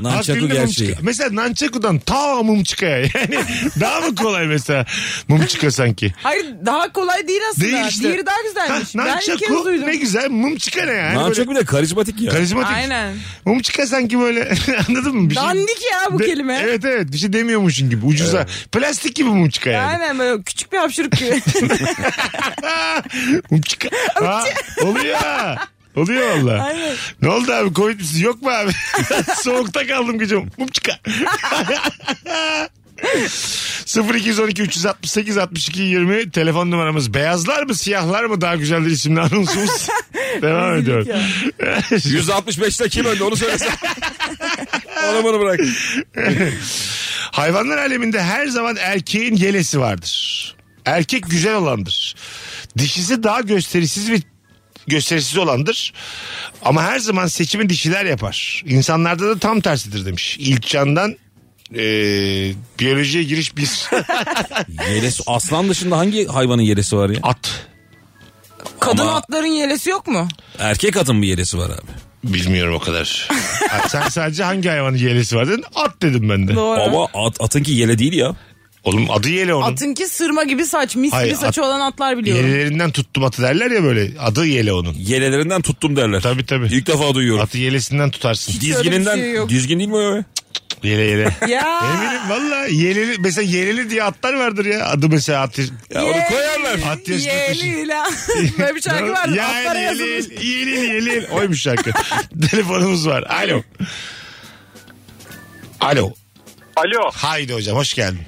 Nançakı
Aklında mum
gerçeği.
çıkıyor. Mesela nançakudan ta mum çıkaya. Yani daha mı kolay mesela mum çıka sanki?
Hayır daha kolay değil aslında.
Değil işte.
Diğeri daha güzelmiş.
Ha,
ben ilk kez
nançaku
duydum.
ne güzel mum çıka ne yani?
Nançak
Böyle
bir de karizmatik ya.
Karizmatik.
Aynen.
Mum çıka sanki böyle anladın mı? Bir şey-
Dandik ya bu
De-
kelime.
Evet evet bir şey demiyormuşsun gibi ucuza. Plastik gibi mum çıka yani.
Aynen böyle küçük bir hapşırık gibi.
mum çıka. Ha, oluyor. Oluyor valla.
Aynen.
Ne oldu abi covid misin? yok mu abi? Soğukta kaldım gece. Mum çıka. 0212 368 62 20 telefon numaramız beyazlar mı siyahlar mı daha güzeldir isimli anonsumuz devam ediyor.
165'te kim önde onu söylesen. onu bunu bırak.
Hayvanlar aleminde her zaman erkeğin yelesi vardır. Erkek güzel olandır. Dişisi daha gösterisiz ve gösterisiz olandır. Ama her zaman seçimi dişiler yapar. İnsanlarda da tam tersidir demiş. İlk candan eee, biyolojiye giriş bir
Yelesi, aslan dışında hangi hayvanın yelesi var ya?
at.
Kadın
Ama-
atların yelesi yok mu?
Erkek atın bir yelesi var abi.
Bilmiyorum o kadar. Ay, Sen sadece hangi hayvanın yelesi var dedin? At dedim ben de.
Doğru.
Ama at, atınki yele değil ya.
Oğlum adı yele onun.
Atınki sırma gibi saç, mis
Hayır,
gibi saçı olan atlar biliyorum.
Yelelerinden tuttum atı derler ya böyle. Adı yele onun.
Yelelerinden tuttum derler.
Tabii tabii.
İlk defa duyuyorum.
Atı yelesinden tutarsın.
öyle bir
Dizgininden.
şey yok.
dizgin değil mi o? ya?
Yele yele.
Ya.
Eminim valla yeleli mesela yeleli diye atlar vardır ya. Adı mesela at.
Ya onu koyarlar.
At yaşında taşı-
Yeli la. Böyle bir şarkı vardı. Atlara
Yani
yazılmış.
yelil, yelil, yelil. Oymuş şarkı. Telefonumuz var. Alo. Alo.
Alo.
Haydi hocam hoş geldin.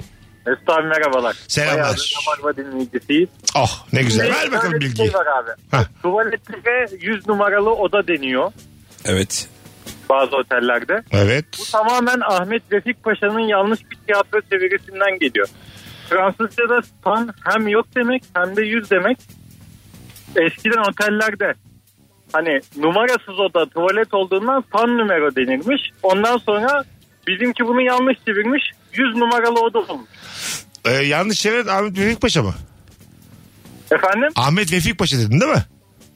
Mesut abi merhabalar.
Selamlar.
Bayağıdır Rabarba dinleyicisiyiz.
Oh ne güzel.
Şimdi
Ver
şöyle
bakalım
bir
bilgiyi.
Şey var abi.
Hah.
Tuvaletlere 100 numaralı oda deniyor
Evet.
bazı otellerde.
Evet.
Bu tamamen Ahmet Vefik Paşa'nın yanlış bir tiyatro çevirisinden geliyor. Fransızca'da tan hem yok demek hem de yüz demek. Eskiden otellerde hani numarasız oda tuvalet olduğundan tan numara denirmiş. Ondan sonra bizimki bunu yanlış çevirmiş. Yüz numaralı oda olmuş.
Ee, yanlış çeviren Ahmet Vefik Paşa mı?
Efendim?
Ahmet Vefik Paşa dedin değil mi?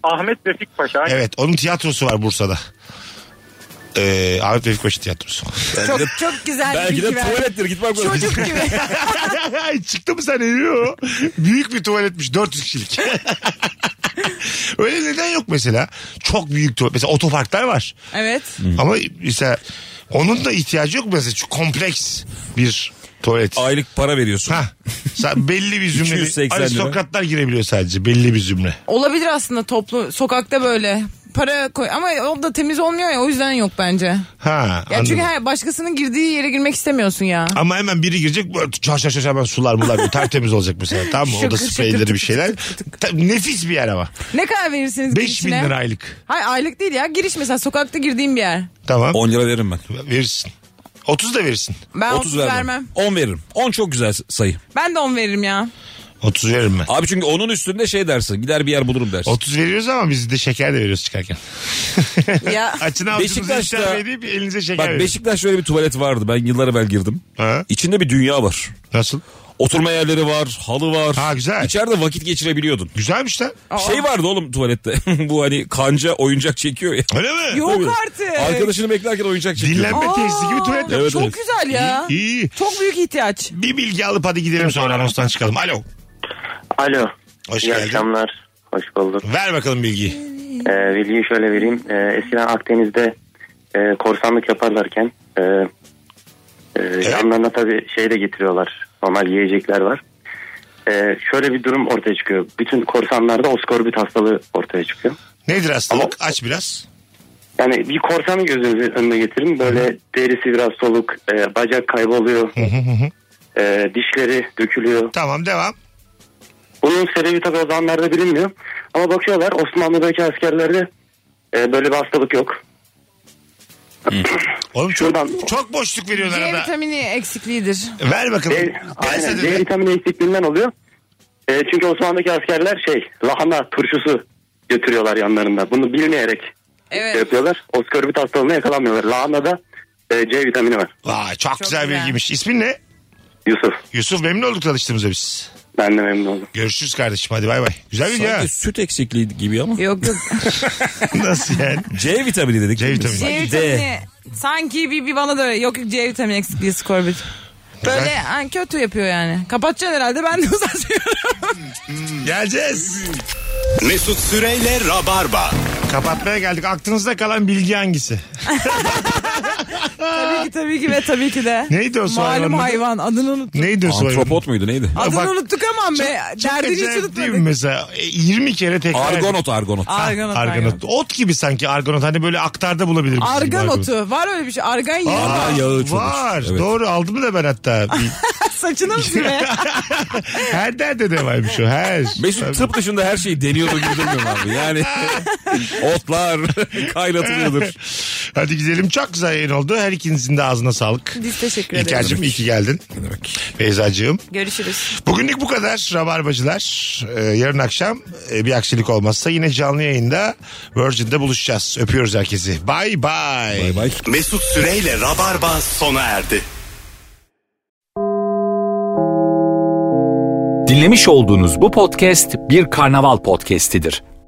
Ahmet Vefik Paşa.
Evet onun tiyatrosu var Bursa'da. Ee, Ahmet Vefik Paşa tiyatrosu.
Çok, çok güzel
Belki
bilgi
de
verdi.
tuvalettir git bak.
Çocuk gibi.
Ay, Çıktı mı sen Yo. Büyük bir tuvaletmiş 400 kişilik. Öyle neden yok mesela? Çok büyük tuvalet. Mesela otoparklar var.
evet.
Ama mesela onun da ihtiyacı yok mu mesela. Şu kompleks bir tuvalet.
Aylık para veriyorsun.
Ha. Sa- belli bir
280
zümre.
lira.
Aristokratlar girebiliyor sadece belli bir zümre.
Olabilir aslında toplu sokakta böyle. Para koy ama o da temiz olmuyor ya o yüzden yok bence.
Ha.
Ya çünkü
anladım.
her başkasının girdiği yere girmek istemiyorsun ya.
Ama hemen biri girecek böyle çar çar çar hemen sular mular böyle tertemiz olacak mesela tamam mı? Oda
Şakır şakır
spreyleri bir
tık
şeyler. Ta- nefis bir yer ama.
Ne kadar
5
verirsiniz
bin
girişine?
lira aylık.
Hayır aylık değil ya giriş mesela sokakta girdiğim bir yer.
Tamam
10 lira veririm ben.
verirsin. 30 da verirsin.
Ben 30,
30 vermem.
vermem.
10 veririm. 10 çok güzel sayı.
Ben de 10 veririm ya.
30 veririm ben.
Abi çünkü onun üstünde şey dersin. Gider bir yer bulurum dersin.
30 veriyoruz ama biz de şeker de veriyoruz çıkarken.
Ya
Açın avucunuzu
Beşiktaş'ta-
işler edip elinize şeker
Bak
verin.
Beşiktaş şöyle bir tuvalet vardı. Ben yıllar evvel girdim.
Ha?
İçinde bir dünya var.
Nasıl?
Oturma yerleri var, halı var.
Ha, güzel.
İçeride vakit geçirebiliyordun.
Güzelmiş lan.
Şey vardı oğlum tuvalette. Bu hani kanca oyuncak çekiyor ya.
Öyle mi?
yok
Tabii.
artık.
Arkadaşını beklerken oyuncak çekiyor.
Dinlenme tesisi gibi tuvalet
Aa,
yapmış.
Çok
evet.
güzel ya.
İyi, iyi.
Çok büyük ihtiyaç.
Bir bilgi alıp hadi gidelim sonra anonstan çıkalım. Alo.
Alo.
Hoş
İyi
geldin.
akşamlar. Hoş bulduk.
Ver bakalım bilgiyi.
Ee, bilgiyi şöyle vereyim. Ee, eskiden Akdeniz'de e, korsanlık yaparlarken e, e, yanlarına tabii şey de getiriyorlar. Normal yiyecekler var. Ee, şöyle bir durum ortaya çıkıyor. Bütün korsanlarda oskorbit hastalığı ortaya çıkıyor.
Nedir hastalık? Aç biraz.
Yani bir korsanı gözünüzün önüne getirin. Böyle derisi biraz soluk, e, bacak kayboluyor, e, dişleri dökülüyor.
Tamam devam.
Bunun sebebi tabii o zamanlarda bilinmiyor. Ama bakıyorlar Osmanlı'daki askerlerde e, böyle bir hastalık yok.
Oğlum çok,
Şuradan-
çok boşluk veriyorsun
C
arada.
vitamini eksikliğidir.
Ver bakalım.
D,
Derse
aynen,
de-
D vitamini eksikliğinden oluyor. E, çünkü Osmanlı'daki askerler şey lahana turşusu götürüyorlar yanlarında. Bunu bilmeyerek
Evet.
şey yapıyorlar. Oskorbit hastalığına yakalanmıyorlar. Lahanada e, C vitamini var.
Vay çok, güzel,
güzel.
bilgiymiş. İsmin ne?
Yusuf
Yusuf memnun olduk tanıştığımıza biz.
ben de memnun oldum.
Görüşürüz kardeşim hadi bay bay. Güzel bilgi ha.
Sanki süt eksikliği gibi ama.
Yok yok.
Nasıl yani?
C vitamini dedik.
C
değil mi?
vitamini.
C
Sanki
vitamini. Sanki bir, bir bana da öyle. Yok yok C vitamini eksikliği skorbit. Böyle
Güzel.
hani kötü yapıyor yani. Kapatacaksın herhalde ben de uzatıyorum.
Geleceğiz.
Mesut Süreyle Rabarba.
Kapatmaya geldik. Aklınızda kalan bilgi hangisi?
tabii ki tabii ki ve tabii ki de.
Neydi o sonra?
Malum hayvan adını unuttum.
Neydi o soyadın?
Antropot muydu neydi?
Adını
bak,
unuttuk ama be. Derdini hiç
acayip değil mi
unutmadık.
mesela? E, 20 kere tekrar.
Argonot argonot.
Argonot.
Arganot. Arganot.
Ot gibi sanki argonot. Hani böyle aktarda bulabilir misin? gibi argonot.
Arganotu. Var öyle bir şey. Argan yağı
Aa,
var.
yağı çok
Var.
uçmuş. Evet.
Doğru aldım da ben hatta. Bir-
Saçını mı sile?
her derde de varmış o. Her.
Mesut tıp dışında her şeyi deniyordu gibi durmuyorum abi. Yani otlar kaynatılıyordur.
Hadi gidelim. Çok güzel yayın oldu. Her ikinizin de ağzına sağlık.
Biz teşekkür ederiz.
İlker'cim iyi ki geldin. Beyza'cığım.
Görüşürüz.
Bugünlük bu kadar Rabarbacılar. Ee, yarın akşam e, bir aksilik olmazsa yine canlı yayında Virgin'de buluşacağız. Öpüyoruz herkesi. Bay bay.
Bay bay.
Mesut Süreyle Rabarba sona erdi.
Dinlemiş olduğunuz bu podcast bir karnaval podcastidir.